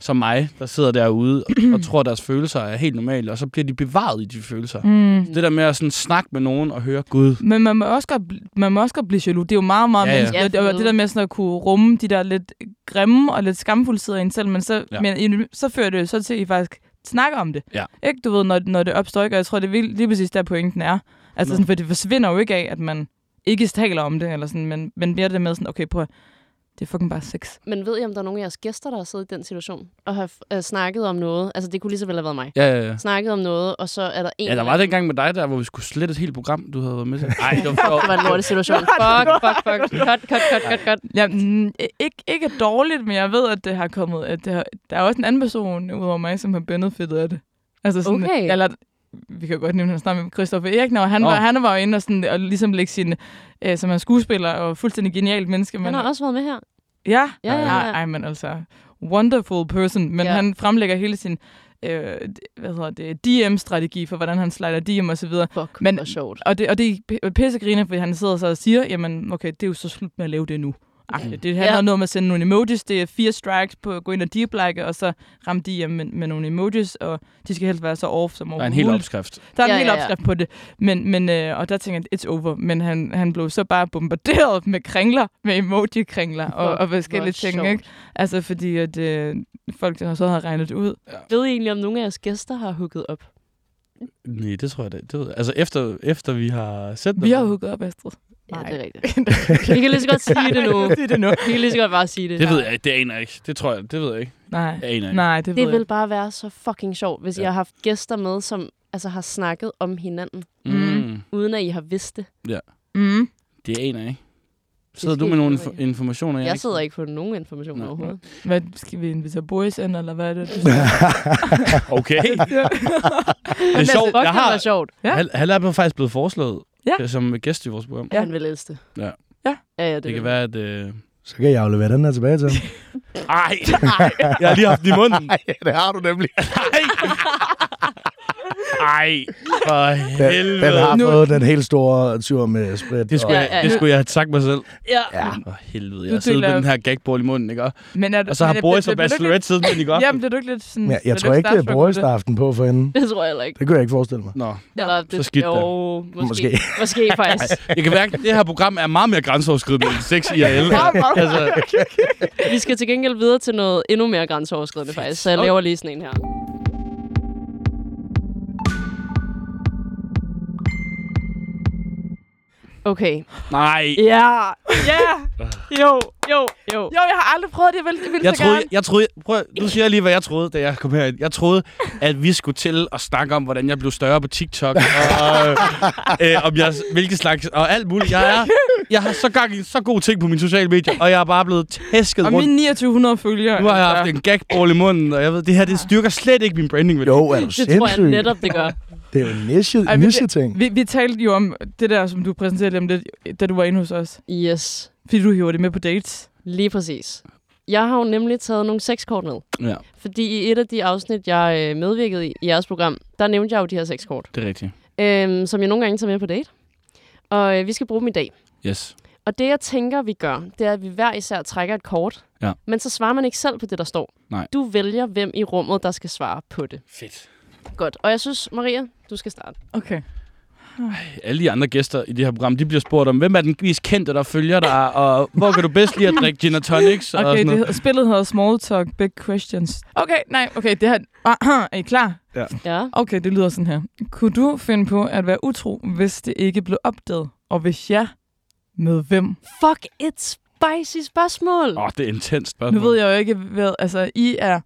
som mig, der sidder derude og, og tror, at deres følelser er helt normale, og så bliver de bevaret i de følelser. Mm. Det der med at sådan snakke med nogen og høre, Gud, Men man må, også godt, bl- man må også godt blive jaloux. Det er jo meget, meget Ja, ja, ja. ja. menneskeligt. Ja, for Og det helvede. der med sådan at kunne rumme de der lidt grimme og lidt skamfulde sider i en selv, men så, Ja. ja. men, i- så fører det jo så til, at I faktisk snakker om det. Ja. Ikke? Du ved, når, når det opstår, ikke? og jeg tror, det er virkelig- lige præcis der pointen er. Altså, Nå. sådan, for det forsvinder jo ikke af, at man ikke taler om det, eller sådan, men, men mere det med sådan, okay, prøv at- det er fucking bare sex. Men ved I, om der er nogen af jeres gæster, der har siddet i den situation og har øh, snakket om noget? Altså, det kunne lige så vel have været mig. ja, ja, ja. Snakket om noget, og så er der en... Ja, der var den gang med dig der, hvor vi skulle slette et helt program, du havde været med til. Nej, det var Det var en lortet situation. Fuck, fuck, fuck. Cut, cut, cut, cut, cut. Ja, mm, ikke, ikke dårligt, men jeg ved, at det har kommet. At det har, der er også en anden person udover mig, som har benefittet af det. Altså sådan, Okay. Eller, vi kan jo godt nævne hans navn, Christoffer Erik, når han, Nå. var, han var jo inde og, sådan, og ligesom lægge sin, øh, som er skuespiller og fuldstændig genialt menneske. Men, Han har også været med her. Ja, Ja, ja, ja. Ej, ej, men altså, wonderful person, men Ja. ja. han fremlægger hele sin, øh, d- hvad hedder det, DM-strategi for, hvordan han slider DM og så videre. Fuck, Men- hvor sjovt. Og det, og det er pissegriner, fordi han sidder så og siger, jamen okay, det er jo så slut med at lave det nu. Mm. Det Ja. handler ja. noget om at sende nogle emojis. Det er fire strikes på at gå ind og deep like, og så ramme de hjem med, med nogle emojis, og de skal helst være så off som Der er overhovedet en hel muligt. opskrift. Der er en Ja, hel ja, ja. opskrift på det. Men, men, øh, og der tænker jeg, it's over. Men han, han blev så bare bombarderet med kringler, med emoji-kringler og, Hvor- og forskellige hvor ting. sjovt. Ikke? Altså fordi, at øh, folk der så havde regnet det ud. Ved I egentlig, om nogen af jeres gæster har hooket op? Nej, det tror jeg da ikke. Det ved jeg. Altså, efter, efter vi har sendt Vi det. har hooket op, Astrid. Ja, Nej. det er rigtigt. Vi kan lige så godt sige det nu. det er det nu. Vi kan lige så godt bare sige det. Det ved jeg ikke. Det aner jeg ikke. Det tror jeg. Det ved jeg ikke. Nej. Jeg aner ikke. Nej, det, ved Det jeg vil bare være så fucking sjovt, hvis ja. Ja. I har haft gæster med, som altså, har snakket om hinanden, Mm. uden at I har vidst det. ikke. Mm. Det aner jeg ikke. Sidder du helt med nogle vildt, inf- informationer? Jeg, Jeg, jeg sidder ikke på nogen information Nej. overhovedet. Hvad skal vi invitere Boris ind, eller hvad er det? Okay. det er Altså, sjovt. fuck, Jeg det var har... sjovt. Ja. Han, han er blevet- faktisk blevet foreslået Ja. øh, som gæst i vores program. Ja. Ja. Han vil elske det. Ja. Ja. ja, ja det, Det vil kan han. være, at... Øh... Så kan jeg jo levere den her tilbage til ham. Ej! jeg har lige haft den i munden. Nej, det har du nemlig. Ej! Ej! For Den, helvede. den har Nu- fået den helt store tur med sprit. Det skulle, Ja, ja, ja, jeg, det ja. skulle jeg have sagt mig selv. Ja. Ja. For helvede, Nu jeg sidder med deler- den her gagball i munden, ikke? Men er, du- Og så har men er- Boris og bliver du ikke Bachelorette siddet med den, ikke? lidt- Jamen, det er du ikke lidt sådan... Ja, bliver jeg du tror ikke, det er starstruck Boris, over der har haft den på for hende. Det tror jeg heller ikke. Det kunne jeg ikke forestille mig. Nå. Eller, det, Så skidt da. jo, måske. Måske. Måske, måske faktisk. Jeg kan mærke, at det her program er meget mere grænseoverskridende end 6 IRL. altså, Vi skal til gengæld videre til noget endnu mere grænseoverskridende faktisk, så jeg laver lige sådan en her. Okay. nej. Ja. Ja! Jo, jo, jo. Jo, jeg har aldrig prøvet det. Jeg vil, jeg vil Jeg så troede, gerne. jeg, jeg troede, prøv, nu siger jeg lige, hvad jeg troede, da jeg kom herind. Jeg troede, at vi skulle til at snakke om, hvordan jeg blev større på TikTok, og øh, øh, om jeg, hvilke slags, og alt muligt. Jeg, er, jeg har så gang i så gode ting på mine sociale medier, og jeg er bare blevet tæsket Og rundt. mine 2900 følgere. Nu har jeg haft altså. en gagball i munden, og jeg ved, det her det styrker slet ikke min branding. vel? Jo, er du Det tror jeg sindssyg? netop, det gør. Det er jo en niche, Ej, men det- niche ting. Vi, vi talte jo om det der, som du præsenterede lige om lidt, da du var inde hos os. Yes, Fordi du hiver det med på dates. lige præcis. Jeg har jo nemlig taget nogle sexkort med. Ja, Fordi i et af de afsnit, jeg øh, medvirkede i i jeres program, der nævnte jeg jo de her sexkort, det er rigtigt. øh, som jeg nogle gange tager med på date. Og øh, vi skal bruge dem i dag. Yes. Og det, jeg tænker, vi gør, det er, at vi hver især trækker et kort. Ja. Men så svarer man ikke selv på det, der står. Nej. Du vælger, hvem i rummet, der skal svare på det. Fedt. Godt. Og jeg synes, Maria, du skal starte. Okay. Alle de andre gæster i det her program, de bliver spurgt om, hvem er den mest kendte, der følger dig, og hvor kan du bedst lide at drikke gin og tonics? Og Okay, sådan noget. det, spillet hedder Small Talk, Big Questions. Okay, nej, okay, det her... Aha, er I klar? Ja. Okay, det lyder sådan her. Kunne du finde på at være utro, hvis det ikke blev opdaget? Og hvis ja, med hvem? Fuck, et spicy spørgsmål. Åh, oh, det er intenst Nu spørgsmål. ved jeg jo ikke, hvad... Altså, I er...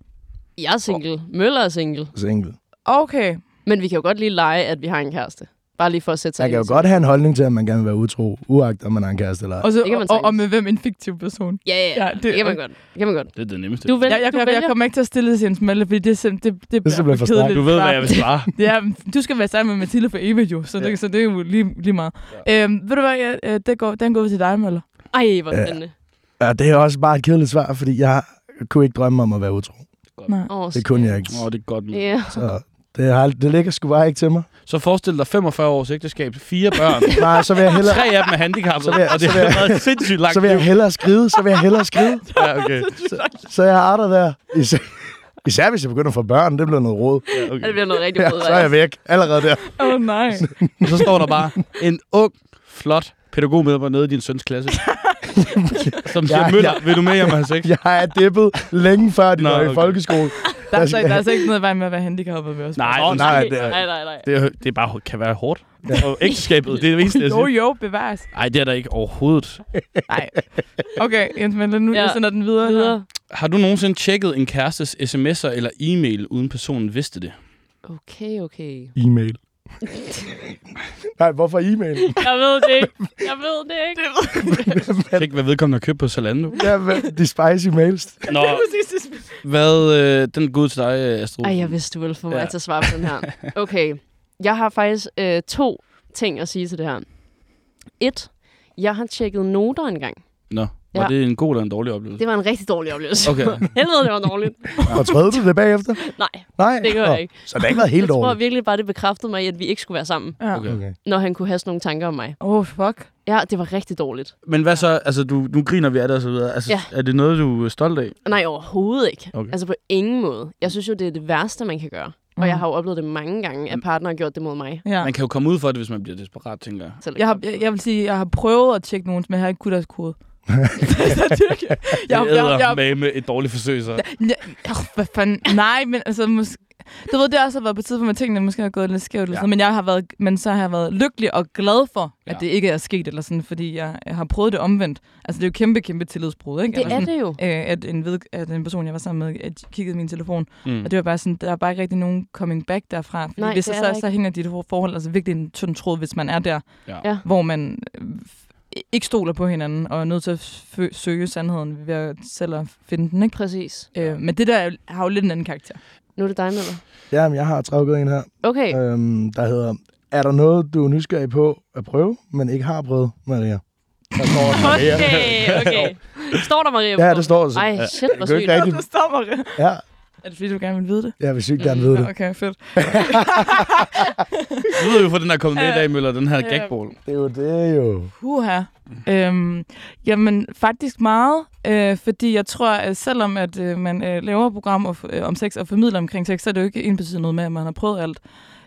Jeg er single. Møller er single. Så enkelt. Okay, Men vi kan jo godt lige lege, at vi har en kæreste. Bare lige for at sætte sig Man kan ind jo i godt have en holdning til, at man gerne vil være utro, uagt om man har en kæreste eller ej. og, så, Det kan man og, og sagtens. med hvem en fiktiv person? Ja, ja, ja. Ja, Det, det- det kan man godt. Det kan man godt. Det er det nemmeste. Du, vælger, Jeg, jeg, du jeg, jeg vælger. kommer ikke til at stille til en smalle, fordi det, det, det, det simpelthen for strengt. du ved, hvad jeg vil svare. Ja, men du skal være sammen med Mathilde for evigt jo, så, det, så det er jo lige, lige meget. Ja. Øhm, ved du hvad, jeg, øh, det går, den går ud til dig, Møller. Ej, hvor spændende. Ja, det er også bare et kedeligt svar, fordi jeg kunne ikke drømme om at være utro. Nej. Åh, Det kunne jeg ikke. Åh, oh, det er godt. Yeah. Ja. Så det, har, det ligger sgu bare ikke til mig. Så forestil dig 45 års ægteskab, fire børn, Nej, så vil jeg hellere, tre af dem er handicappede, Så vil jeg- og det har så vil jeg- været et sindssygt langt så vil jeg liv. hellere skride, så vil jeg hellere skride. Ja, okay. Så jeg arter der. Især, især hvis jeg begynder at få børn, det bliver noget råd. Ja, Det okay. bliver noget rigtig Ja, rød så er jeg væk allerede der. Åh oh, nej. Så står der bare en ung, flot pædagog med mig nede i din søns klasse. Som siger, Ja, Møller, vil du med hjem og have sex? Jeg er dippet længe før, de Nå, var i okay. folkeskole. Der er, altså, der er altså ikke noget i vejen med at være handicappet med os. Nej, Åh, nej, det er, nej, nej, nej. Det, er, det er bare, kan være hårdt. Og ægteskabet, det er det eneste, jeg Jo, siger. jo, bevares. Ej, det er der ikke overhovedet. Nej. Okay, Jens Møller, nu Ja. ja. jeg sender den videre. Videre. Har du nogensinde tjekket en kærestes sms'er eller e-mail, uden personen vidste det? Okay, okay. E-mail. Nej, hvorfor e-mail? Jeg ved det ikke. Jeg ved det ikke. Tænk, hvad vedkommende har købt på Zalando. Ja, hvad- de spicy mails. Nå, hvad, øh, den går ud til dig, øh, Astrid. Ej, jeg vidste, du ville få mig Ja. til at svare på den her. Okay. Jeg har faktisk øh, to ting at sige til det her. Et. Jeg har tjekket noter engang. Nå, var Ja. det en god eller en dårlig oplevelse? Det var en rigtig dårlig oplevelse. Okay. Helvede, det var dårligt. Fortrød du det bagefter? Nej, Nej. det gør Nå, jeg ikke. Så det har ikke været helt Jeg tror dårligt. virkelig bare, det bekræftede mig i, at vi ikke skulle være sammen, Ja. Okay. Okay. når han kunne have sådan nogle tanker om mig. Åh, oh, fuck. Ja, det var rigtig dårligt. Men hvad så? Altså, du, nu griner vi af det og så videre. Altså, Ja. Er det noget, du er stolt af? Nej, overhovedet ikke. Okay. Altså på ingen måde. Jeg synes jo, det er det værste, man kan gøre. Mm. Og jeg har jo oplevet det mange gange, at partner har gjort det mod mig. Ja. Man kan jo komme ud for det, hvis man bliver desperat, tænker jeg. Selv Jeg, har, jeg, jeg vil sige, jeg har prøvet at tjekke nogen, men jeg har ikke kunnet deres kode. jeg, Det jeg, jeg, jeg, med med et dårligt forsøg, så. Ja, oh, hvad fanden? Nej, men altså, måske, du ved, det har også været på et tidspunkt, at tingene måske har gået lidt skævt, eller sådan, men, jeg har været, men så har jeg været lykkelig og glad for, at Ja. det ikke er sket, eller sådan, fordi jeg, jeg har prøvet det omvendt. Altså, det er jo kæmpe, kæmpe tillidsbrud, ikke? Det eller er sådan, det jo. Øh, at, en ved, at en person, jeg var sammen med, at kiggede i min telefon. Mm. Mm. Og det var bare sådan, der er bare ikke rigtig nogen coming back derfra. Fordi Nej, hvis det så, er der så, så hænger dit forhold altså virkelig i en tynd tråd, hvis man er der, Ja. Ja. hvor man øh, f- ikke stoler på hinanden, og er nødt til at fø- søge sandheden ved at selv at finde den, ikke? Præcis. Øh, men det der er jo- har jo lidt en anden karakter. Nu er det dig, Møller. Jamen, jeg har trækket en her, Okay. øhm, der hedder, er der noget, du er nysgerrig på at prøve, men ikke har prøvet, Maria? Der står også Maria. Okay, okay. Står der Maria? på Ja, kortet? det står der så. Ej, shit, hvor Det er jo sygt. ikke rigtigt. stopper Ja, Er det fordi, du gerne vil vide det? jeg vil sygt gerne vide det. Okay, fedt. Nu ved vi, hvor den er kommet med i dag, Møller, den her gagball. Det er jo det, jo. Huha. Øhm, jamen, faktisk meget, øh, fordi jeg tror, at selvom at, øh, man øh, laver program og, f- øh, om sex og formidler omkring sex, så er det jo ikke indbetydende noget med, at man har prøvet alt.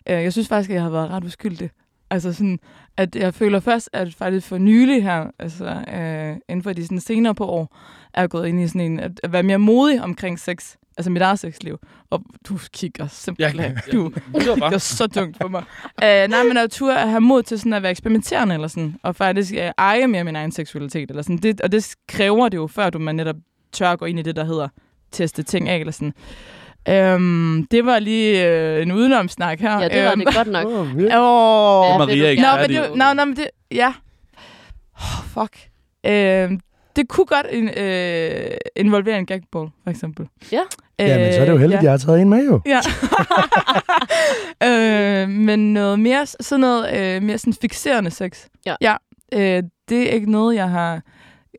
Øh, jeg synes faktisk, at jeg har været ret uskyldig. Altså sådan, at jeg føler først, at faktisk for nylig her, altså øh, inden for de sådan, senere på år, er jeg gået ind i sådan en, at, at være mere modig omkring sex, altså mit eget sexliv. Og du kigger simpelthen, Jeg- du Det var Det var bare... så tungt for mig. uh, nej, men at turde at have mod til sådan at være eksperimenterende, eller sådan, og faktisk uh, eje mere min egen seksualitet. Eller sådan. Det, og det kræver det jo, før du man netop tør at gå ind i det, der hedder teste ting af. Eller sådan. Um, det var lige uh, en udenomsnak her. Ja, det var Øhm, det godt nok. Åh, virkelig. Åh, Maria ikke Nå, færdig. men det, nå, nå, men det, ja. Oh, fuck. Øhm, det kunne godt in, øh, involvere en gagball, for eksempel. Øh, Ja. Jamen, så er det jo heldigt, at jeg har taget en med jo. Ja. ja. øh, men noget mere, s- sådan noget øh, mere sådan fikserende sex. Ja. ja øh, det er ikke noget, jeg har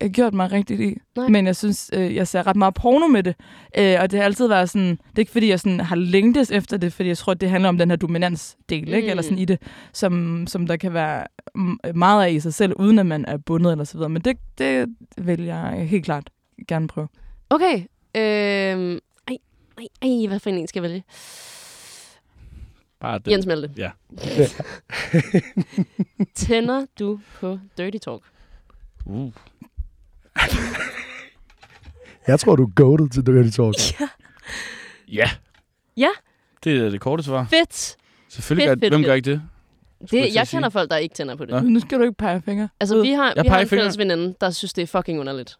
øh, gjort mig rigtigt i. Nej. Men jeg synes, øh, jeg ser ret meget porno med det. Øh, og det har altid været sådan... Det er ikke, fordi jeg sådan har længtes efter det, fordi jeg tror, det handler om den her dominansdel, mm. ikke? Eller sådan i det, som, som der kan være m- meget af i sig selv, uden at man er bundet eller så videre. Men det, det vil jeg helt klart gerne prøve. Okay. Øhm, ej, ej, ej, hvad for en skal jeg vælge? Bare det. Jens Melde. Ja. Tænder du på Dirty Talk? Uh. Jeg tror, du er goated til Dirty Talk. Ja. Ja. Det er det korte svar. Fedt! Selvfølgelig fedt, Fedt, gør, fedt, fedt, hvem fedt. gør ikke det? jeg Det, til jeg at sige. kender folk, der ikke tænder på det. Nå. Nu skal du ikke pege fingre. Altså, vi har, Jeg vi har peger en fingre. fælles veninde, der synes, det er fucking underligt.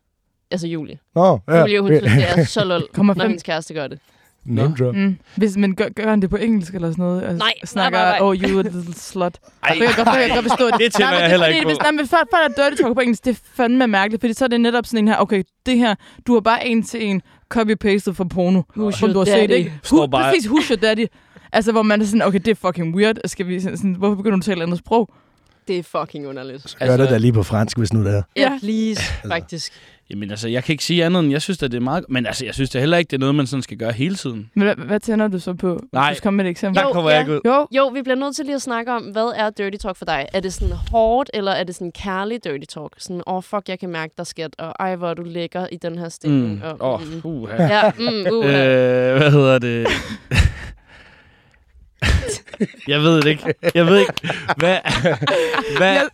Altså Julie. Nå, ja. Julie, hun synes, det er så lol, Kommer når fem. hendes kæreste gør det. Name drop. Mm. Hvis, men gør, gør han det på engelsk eller sådan noget? Altså, Nej, nej, snakker, nej, nej. oh, you a little slut. Ej, Det kan jeg godt, det kan jeg godt forstå. det tænder Nej, men jeg er heller fordi, ikke hvis, på. nej, men folk, folk, der dirty talk på engelsk, det er fandme mærkeligt, fordi så er det netop sådan en her, okay, det her, du har bare en til en copy-pastet fra porno, Who's som your du har daddy? set, ikke? Står Who, bare- Præcis, who's your daddy? Altså, hvor man er sådan, okay, det er fucking weird. Skal vi sådan, sådan, hvorfor begynder du at tale andet sprog? Det er fucking underligt. Gør det da lige på fransk, hvis nu det er. Ja, please, faktisk. Jamen altså, jeg kan ikke sige andet, end jeg synes, at det er meget... Men altså, jeg synes det heller ikke, det er noget, man sådan skal gøre hele tiden. Men hvad, hvad tænder du så på? Hvis Nej. Du skal komme med et eksempel. Jo, Der kommer ja. jeg ikke ud. Jo, Jo, vi bliver nødt til lige at snakke om, hvad er dirty talk for dig? Er det sådan hårdt, eller er det sådan kærlig dirty talk? Sådan, åh oh, fuck, jeg kan mærke dig skat, og ej, hvor er du lækker i den her stilling. Mm. Og, Åh, mm. puha. Ja, mm, uh, øh. Øh, hvad hedder det? jeg ved det ikke. Jeg ved ikke. Hvad, hvad, jeg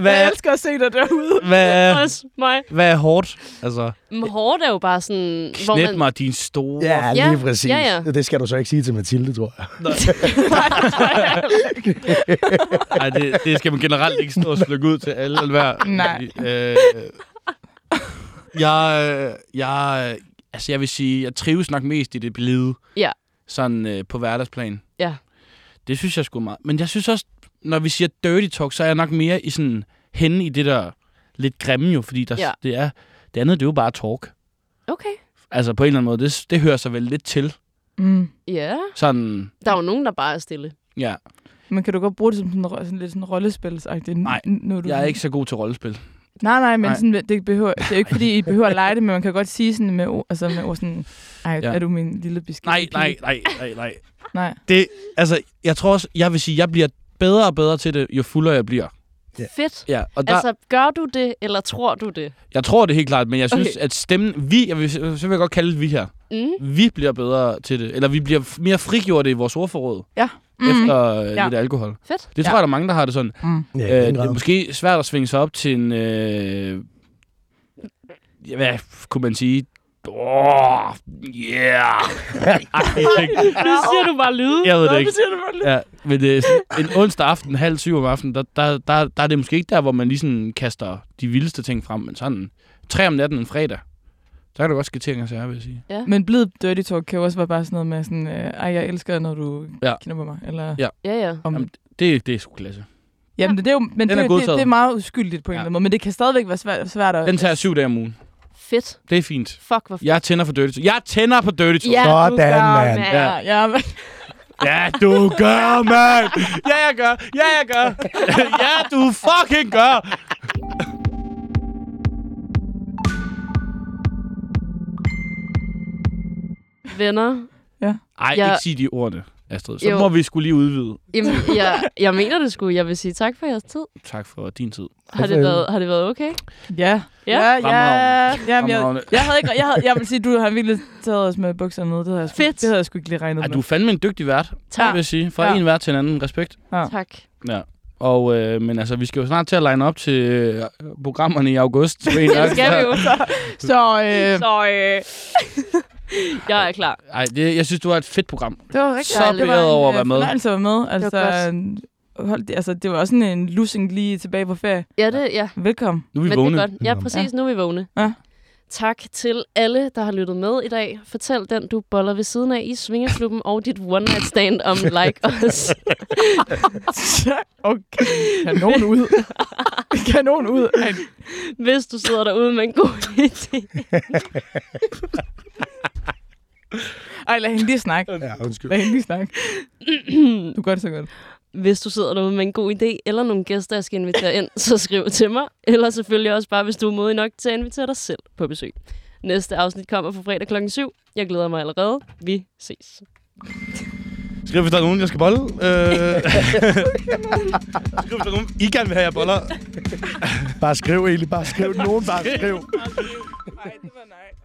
hvad, elsker at se dig derude. hvad, er, Også mig. hvad er hårdt? Altså, Men Hårdt er jo bare sådan... knæt mig, din store... Ja, Ja, lige præcis. ja, ja. Det skal du så ikke sige til Mathilde, tror jeg. Ej, det, det skal man generelt ikke stå og slukke ud til alle eller hver. Nej. Øh, jeg, øh, jeg, øh, altså jeg vil sige, jeg trives nok mest i det blide. Ja. Sådan øh, på hverdagsplan. Ja. Det synes jeg sgu meget. Men jeg synes også, når vi siger dirty talk, så er jeg nok mere i sådan, henne i det der lidt grimme jo, fordi der, Ja. ja. det er, det andet, det er jo bare talk. Okay. Altså på en eller anden måde, det, det hører sig vel lidt til. Mm. Ja. Sådan, Der er jo nogen, der bare er stille. ja. Men kan du godt bruge det som sådan, en ro- sådan lidt sådan rollespilsagtigt? Nej, nu, Jeg er ikke så god til rollespil. Nej, nej, men Nej. sådan, det, behøver, det er jo ikke, fordi I behøver at lege det, men man kan godt sige sådan med ord, altså med ord sådan, ej, ja. Ja. er du min lille beskidt? Nej, nej, nej, nej, nej. Nej. Det, altså, jeg tror også, jeg vil sige, jeg bliver bedre og bedre til det, jo fuldere jeg bliver. Ja. Fedt. Ja, og der, altså, Altså, gør du det, eller tror du det? jeg tror det helt klart, men jeg synes, Okay. okay. at stemmen, vi, jeg vil, så vil jeg godt kalde det vi her, Mm. vi bliver bedre til det, eller vi bliver f- mere frigjorte i vores ordforråd, Ja. mm. efter øh, Ja. ja. lidt alkohol. Fedt. Det tror Ja. jeg, der er mange, der har det sådan. Ja, Øh, den det er grad. måske svært at svinge sig op til en, øh, ja, hvad kunne man sige, Åh, yeah. Agtig ting. Nu siger du bare lyde. Jeg ved det ikke. siger du bare lidt. Ja, men det er sådan, en onsdag aften, halv syv om aftenen, der, der, der, der er det måske ikke der, hvor man lige sådan kaster de vildeste ting frem, men sådan tre om natten en fredag, så kan du godt ske ting og sager, vil jeg sige. Men blid dirty talk kan jo også være bare sådan noget med sådan, øh, ej, jeg elsker, når du ja. Ja. kender mig, eller... Ja. Ja, ja. Om, jamen, Jamen, Det, det er sgu klasse. jamen det, det er jo men det, er er det, godtaget. det, er meget uskyldigt på en Ja. eller anden måde, men det kan stadigvæk være svært, svært at... Den tager jeg syv dage om ugen. Fedt. Det er fint. Fuck, hvor fedt. Jeg tænder for Dirty Talk. Jeg tænder på Dirty Talk. Sådan, mand. Ja. Ja, ja, men- Ja, du gør, mand! Ja, jeg gør. Ja, jeg gør. ja, du fucking gør. Venner. Ej, Jeg- ikke sige de ordene, Astrid. Så Jo. jo. må vi skulle lige udvide. Jamen, jeg, jeg mener det sgu. Jeg vil sige tak for jeres tid. Tak for din tid. Har det været, har det været okay? Ja. Ja. Ja, ja. Fremragende. Jamen, jeg, Fremragende. jeg, havde ikke, jeg, havde, jeg vil sige, du har virkelig taget os med bukserne ned. Det havde jeg sgu, Fedt. Det havde jeg sgu ikke lige regnet Ej, med. du er fandme en dygtig vært, Tak. vil jeg sige. Fra Ja. ja. en vært til en anden. Respekt. Tak. Ja. Og, øh, men altså, vi skal jo snart til at line op til øh, programmerne i august. Ved jeg nok. Det skal vi jo. Så øh, Så øh, jeg er klar. Ej, det, jeg synes, du har et fedt program. Det var rigtig Så dejligt. Det var beæret en, over at øh, være med. fornøjelse at være med. Altså, var øh, hold, det- altså, det var også sådan en lussing lige tilbage på ferie. Ja, det, ja. Velkommen. Nu er vi Men det vågne. er godt. Ja, præcis. Nu er vi vågne. Ja. Tak til alle, der har lyttet med i dag. Fortæl den, du boller ved siden af i Svingerklubben og dit one night stand om Like Us. Okay. Kanon ud. Kanon ud. Ej, Hvis du sidder derude med en god idé. Ej, lad hende lige snakke. Ja, undskyld. Lad hende lige snakke. Du gør det så godt. Hvis du sidder derude med en god idé eller nogle gæster, jeg skal invitere ind, så skriv til mig. Eller selvfølgelig også bare, hvis du er modig nok til at invitere dig selv på besøg. Næste afsnit kommer på fredag klokken 7. Jeg glæder mig allerede. Vi ses. Skriv, hvis der er nogen, jeg skal bolle. Øh... Skriv, hvis der er nogen, I gerne vil have, jeg boller. Bare skriv, Eli. Bare skriv. Nogen bare skriv. Nej, det var nej.